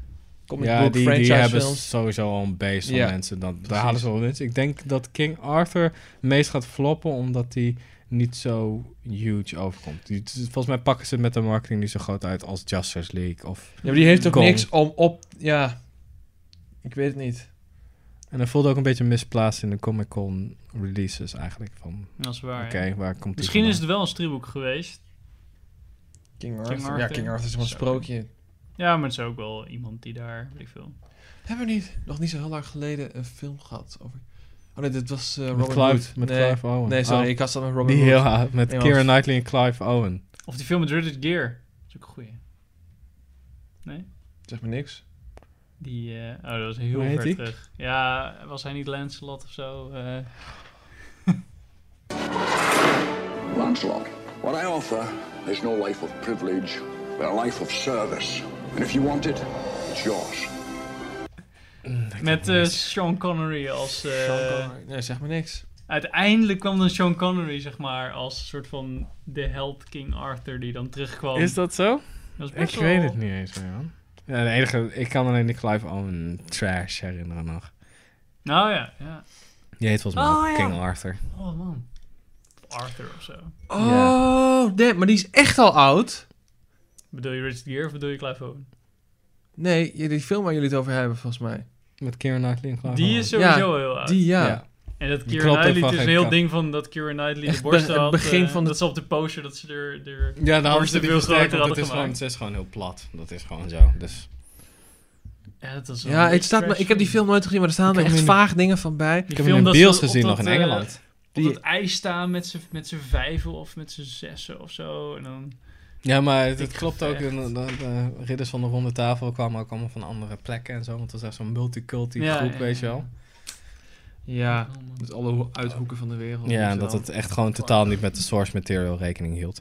[SPEAKER 2] comic
[SPEAKER 3] Ja,
[SPEAKER 2] book
[SPEAKER 3] die, die
[SPEAKER 2] franchise
[SPEAKER 3] hebben
[SPEAKER 2] films...
[SPEAKER 3] sowieso al een base van
[SPEAKER 2] Ja,
[SPEAKER 3] mensen. Dan, daar
[SPEAKER 2] precies.
[SPEAKER 3] halen ze wel mensen. Ik denk dat King Arthur het meest gaat floppen omdat die niet zo huge overkomt. Die, volgens mij pakken ze het met de marketing niet zo groot uit als Justice League. Of,
[SPEAKER 2] Ja, maar die heeft ook
[SPEAKER 3] Kong.
[SPEAKER 2] niks om op... Ja, ik weet het niet.
[SPEAKER 3] en dat voelde ook een beetje misplaatst in de Comic Con releases eigenlijk. Van,
[SPEAKER 1] Dat is waar,
[SPEAKER 3] oké,
[SPEAKER 1] ja.
[SPEAKER 3] waar komt die
[SPEAKER 1] Misschien
[SPEAKER 3] vandaan?
[SPEAKER 1] is het wel een stripboek geweest.
[SPEAKER 2] King Arthur. Ja,
[SPEAKER 1] Arthur.
[SPEAKER 2] King Arthur is gewoon een
[SPEAKER 1] Zo.
[SPEAKER 2] sprookje.
[SPEAKER 1] Ja, maar het is ook wel iemand die daar, weet ik veel.
[SPEAKER 2] Hebben we niet, nog niet zo heel lang geleden, een film gehad over... Oh nee, dit was eh
[SPEAKER 3] met
[SPEAKER 2] Robin
[SPEAKER 3] Clive,
[SPEAKER 2] Hood.
[SPEAKER 3] met
[SPEAKER 2] nee.
[SPEAKER 3] Clive Owen.
[SPEAKER 2] Nee, sorry,
[SPEAKER 3] Oh,
[SPEAKER 2] ik had dat met Robin
[SPEAKER 3] die
[SPEAKER 2] Hood.
[SPEAKER 3] heel hard, met
[SPEAKER 2] Nee, want-
[SPEAKER 3] Keira Knightley en Clive Owen.
[SPEAKER 1] Of die film met Richard Gere. Dat is ook een goeie. Nee?
[SPEAKER 2] Zeg maar niks.
[SPEAKER 1] Die, eh, oh, dat was heel
[SPEAKER 3] Hoe heet
[SPEAKER 1] ver
[SPEAKER 3] die?
[SPEAKER 1] terug. Ja, was hij niet Lancelot of zo? Eh,
[SPEAKER 8] Lancelot, what I offer is no life of privilege, but a life of service. And if you want it, it's yours.
[SPEAKER 1] met eh, Sean Connery als... eh,
[SPEAKER 2] nee, zeg maar niks.
[SPEAKER 1] uiteindelijk kwam dan Sean Connery, zeg maar, als een soort van de held King Arthur die dan terugkwam.
[SPEAKER 3] Is dat zo?
[SPEAKER 1] Dat is
[SPEAKER 3] Ik
[SPEAKER 1] best
[SPEAKER 3] weet
[SPEAKER 1] wel-
[SPEAKER 3] het niet eens meer, man. Ja, de enige, ik kan alleen die Clive Owen trash herinneren nog.
[SPEAKER 1] Nou ja, ja.
[SPEAKER 3] Die heet volgens mij
[SPEAKER 1] Oh,
[SPEAKER 3] ook
[SPEAKER 1] ja.
[SPEAKER 3] King Arthur.
[SPEAKER 1] Oh man. Arthur of zo.
[SPEAKER 2] Oh, nee, maar die is echt al oud.
[SPEAKER 1] Bedoel je Richard Gere of bedoel je Clive Owen?
[SPEAKER 2] Nee, je- die film waar jullie het over hebben, volgens mij.
[SPEAKER 3] Met Keira Knightley en Clive
[SPEAKER 1] Die
[SPEAKER 3] Owen.
[SPEAKER 1] is sowieso heel
[SPEAKER 3] Ah,
[SPEAKER 1] oud.
[SPEAKER 2] Die, ja.
[SPEAKER 3] Ja.
[SPEAKER 1] En dat
[SPEAKER 3] Die
[SPEAKER 1] Keira
[SPEAKER 3] klopt ook
[SPEAKER 1] Knightley,
[SPEAKER 3] van
[SPEAKER 1] het is een
[SPEAKER 3] geen
[SPEAKER 1] heel
[SPEAKER 3] kant.
[SPEAKER 1] ding van dat Keira
[SPEAKER 3] [LAUGHS]
[SPEAKER 1] Knightley
[SPEAKER 2] Echt
[SPEAKER 1] de borst
[SPEAKER 2] be- het
[SPEAKER 1] had.
[SPEAKER 2] begin
[SPEAKER 1] eh,
[SPEAKER 2] van de-
[SPEAKER 1] Dat ze op de poster, dat ze er... er...
[SPEAKER 3] Ja, dan hadden
[SPEAKER 1] Borsten
[SPEAKER 3] ze die
[SPEAKER 1] veel
[SPEAKER 3] versterkt,
[SPEAKER 1] groter
[SPEAKER 3] want
[SPEAKER 1] hadden
[SPEAKER 3] het is, gewoon,
[SPEAKER 1] gemaakt.
[SPEAKER 3] het is gewoon heel plat. Dat is gewoon zo. Dus
[SPEAKER 1] Ja, dat is wel
[SPEAKER 2] Ja,
[SPEAKER 1] een
[SPEAKER 2] ik, staat me,
[SPEAKER 1] trash
[SPEAKER 2] ik heb die film nooit gezien, maar er staan
[SPEAKER 3] Ik
[SPEAKER 2] me
[SPEAKER 3] heb
[SPEAKER 2] echt
[SPEAKER 3] hem in
[SPEAKER 2] vaag dingen van bij.
[SPEAKER 1] Die
[SPEAKER 3] ik heb
[SPEAKER 1] film
[SPEAKER 3] hem in
[SPEAKER 1] dat
[SPEAKER 3] Beals
[SPEAKER 1] ze op
[SPEAKER 3] gezien nog
[SPEAKER 1] dat,
[SPEAKER 3] in
[SPEAKER 1] eh,
[SPEAKER 3] Engeland.
[SPEAKER 1] Op
[SPEAKER 2] Die-
[SPEAKER 1] het ijs staan met z'n- met z'n vijven of met z'n zessen of zo. En dan...
[SPEAKER 3] Ja, maar het,
[SPEAKER 1] Ik
[SPEAKER 3] het klopt ook.
[SPEAKER 1] gevecht.
[SPEAKER 3] De, de- de eh, ridders van de ronde tafel kwamen ook allemaal van andere plekken en zo. Want het was echt zo'n multiculti
[SPEAKER 1] Ja,
[SPEAKER 3] groep,
[SPEAKER 1] ja,
[SPEAKER 3] weet je
[SPEAKER 1] ja.
[SPEAKER 3] wel.
[SPEAKER 2] Ja,
[SPEAKER 1] Oh, man.
[SPEAKER 2] dus alle ho- uithoeken van de wereld.
[SPEAKER 3] Ja, en
[SPEAKER 2] en
[SPEAKER 3] dat
[SPEAKER 2] zo.
[SPEAKER 3] het echt gewoon totaal niet met de source material rekening hield.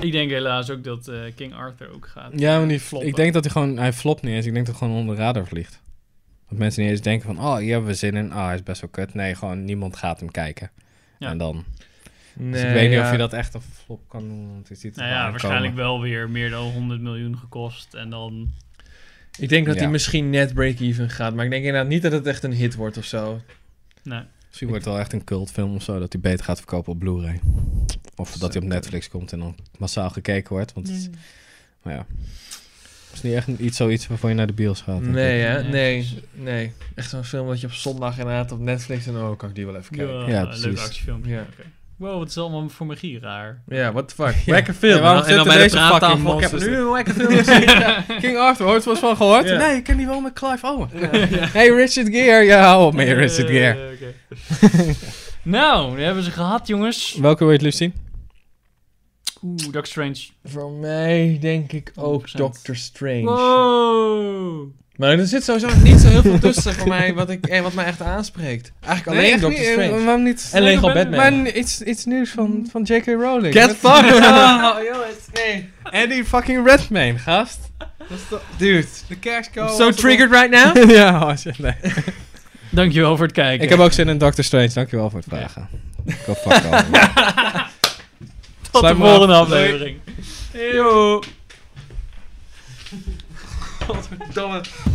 [SPEAKER 1] Ik denk helaas ook dat eh, King Arthur ook gaat.
[SPEAKER 3] Ja, maar die
[SPEAKER 1] floppen.
[SPEAKER 3] Ik denk dat hij gewoon, hij flopt niet eens. Ik denk dat hij gewoon onder de radar vliegt. Dat mensen niet eens denken van, oh, hier hebben we zin in. Ah, hij is best wel kut. Nee, gewoon niemand gaat hem kijken.
[SPEAKER 1] Ja.
[SPEAKER 3] En dan.
[SPEAKER 2] Nee,
[SPEAKER 3] Dus ik weet niet
[SPEAKER 2] ja.
[SPEAKER 3] of je dat echt een flop kan noemen. Want je ziet het
[SPEAKER 1] Nou
[SPEAKER 3] wel
[SPEAKER 1] ja,
[SPEAKER 3] aankomen.
[SPEAKER 1] waarschijnlijk wel weer meer dan 100 miljoen gekost. En dan...
[SPEAKER 2] Ik denk dat
[SPEAKER 3] Ja.
[SPEAKER 2] die misschien net break-even gaat, maar ik denk inderdaad niet dat het echt een hit wordt of zo.
[SPEAKER 1] Nee.
[SPEAKER 3] Misschien wordt het wel echt een cultfilm of zo, dat hij beter gaat verkopen op Blu-ray. Of dat hij op Netflix komt en dan massaal gekeken wordt. Want het is, maar ja, het is niet echt iets, zoiets waarvan je naar de bios gaat. denk ik.
[SPEAKER 2] Nee, hè?
[SPEAKER 1] Nee,
[SPEAKER 2] Nee, nee. Echt zo'n film dat je op zondag inderdaad op Netflix en dan kan ik die wel even kijken.
[SPEAKER 1] Ja,
[SPEAKER 3] Ja,
[SPEAKER 1] een leuk
[SPEAKER 3] precies.
[SPEAKER 1] actiefilmpje.
[SPEAKER 2] Ja.
[SPEAKER 1] Oké. Wow, wat is allemaal voor magie raar.
[SPEAKER 2] Ja, what the fuck. Lekker film.
[SPEAKER 3] Ja, waarom
[SPEAKER 2] en dan
[SPEAKER 3] zitten
[SPEAKER 2] bij de
[SPEAKER 3] deze fucking
[SPEAKER 2] praattafel. Ik heb
[SPEAKER 3] monsters
[SPEAKER 2] nu een lekker film gezien.
[SPEAKER 3] King Arthur, hoort was van gehoord?
[SPEAKER 2] Ja.
[SPEAKER 3] Nee, ik ken die wel met Clive Owen. Hey Richard Gere, ja, hou op met je Richard
[SPEAKER 1] Eh,
[SPEAKER 3] Gere.
[SPEAKER 1] oké. [LAUGHS] nou, die hebben ze gehad, jongens.
[SPEAKER 3] Welke wil je het liefst zien?
[SPEAKER 1] Oeh, Doctor Strange.
[SPEAKER 2] Voor mij denk ik ook
[SPEAKER 1] 100%.
[SPEAKER 2] Doctor Strange.
[SPEAKER 3] Oh.
[SPEAKER 1] Wow.
[SPEAKER 2] Maar er zit
[SPEAKER 3] [LAUGHS]
[SPEAKER 2] sowieso niet zo heel veel tussen voor mij wat, ik, eh, wat mij echt aanspreekt. Eigenlijk alleen Doctor Strange.
[SPEAKER 3] Waarom niet?
[SPEAKER 2] En Lego Batman.
[SPEAKER 3] Maar n- iets, iets nieuws van, van J.K. Rowling.
[SPEAKER 2] Get
[SPEAKER 3] Wat- [LAUGHS]
[SPEAKER 2] fucked! [LAUGHS] Oh, jongens, nee.
[SPEAKER 3] En die fucking Redman, gast.
[SPEAKER 2] Dude.
[SPEAKER 3] De kerstkool.
[SPEAKER 2] I'm so triggered right now.
[SPEAKER 3] [LAUGHS]
[SPEAKER 2] [LAUGHS]
[SPEAKER 3] ja, als je- nee.
[SPEAKER 1] Dankjewel voor het kijken.
[SPEAKER 3] Ik heb ook zin in Doctor Strange, dankjewel voor het vragen. Ik wil fuck all.
[SPEAKER 1] Tot
[SPEAKER 3] Sluit
[SPEAKER 1] de
[SPEAKER 3] me af.
[SPEAKER 1] volgende
[SPEAKER 3] Doei.
[SPEAKER 1] aflevering. Yo.
[SPEAKER 2] Godverdomme.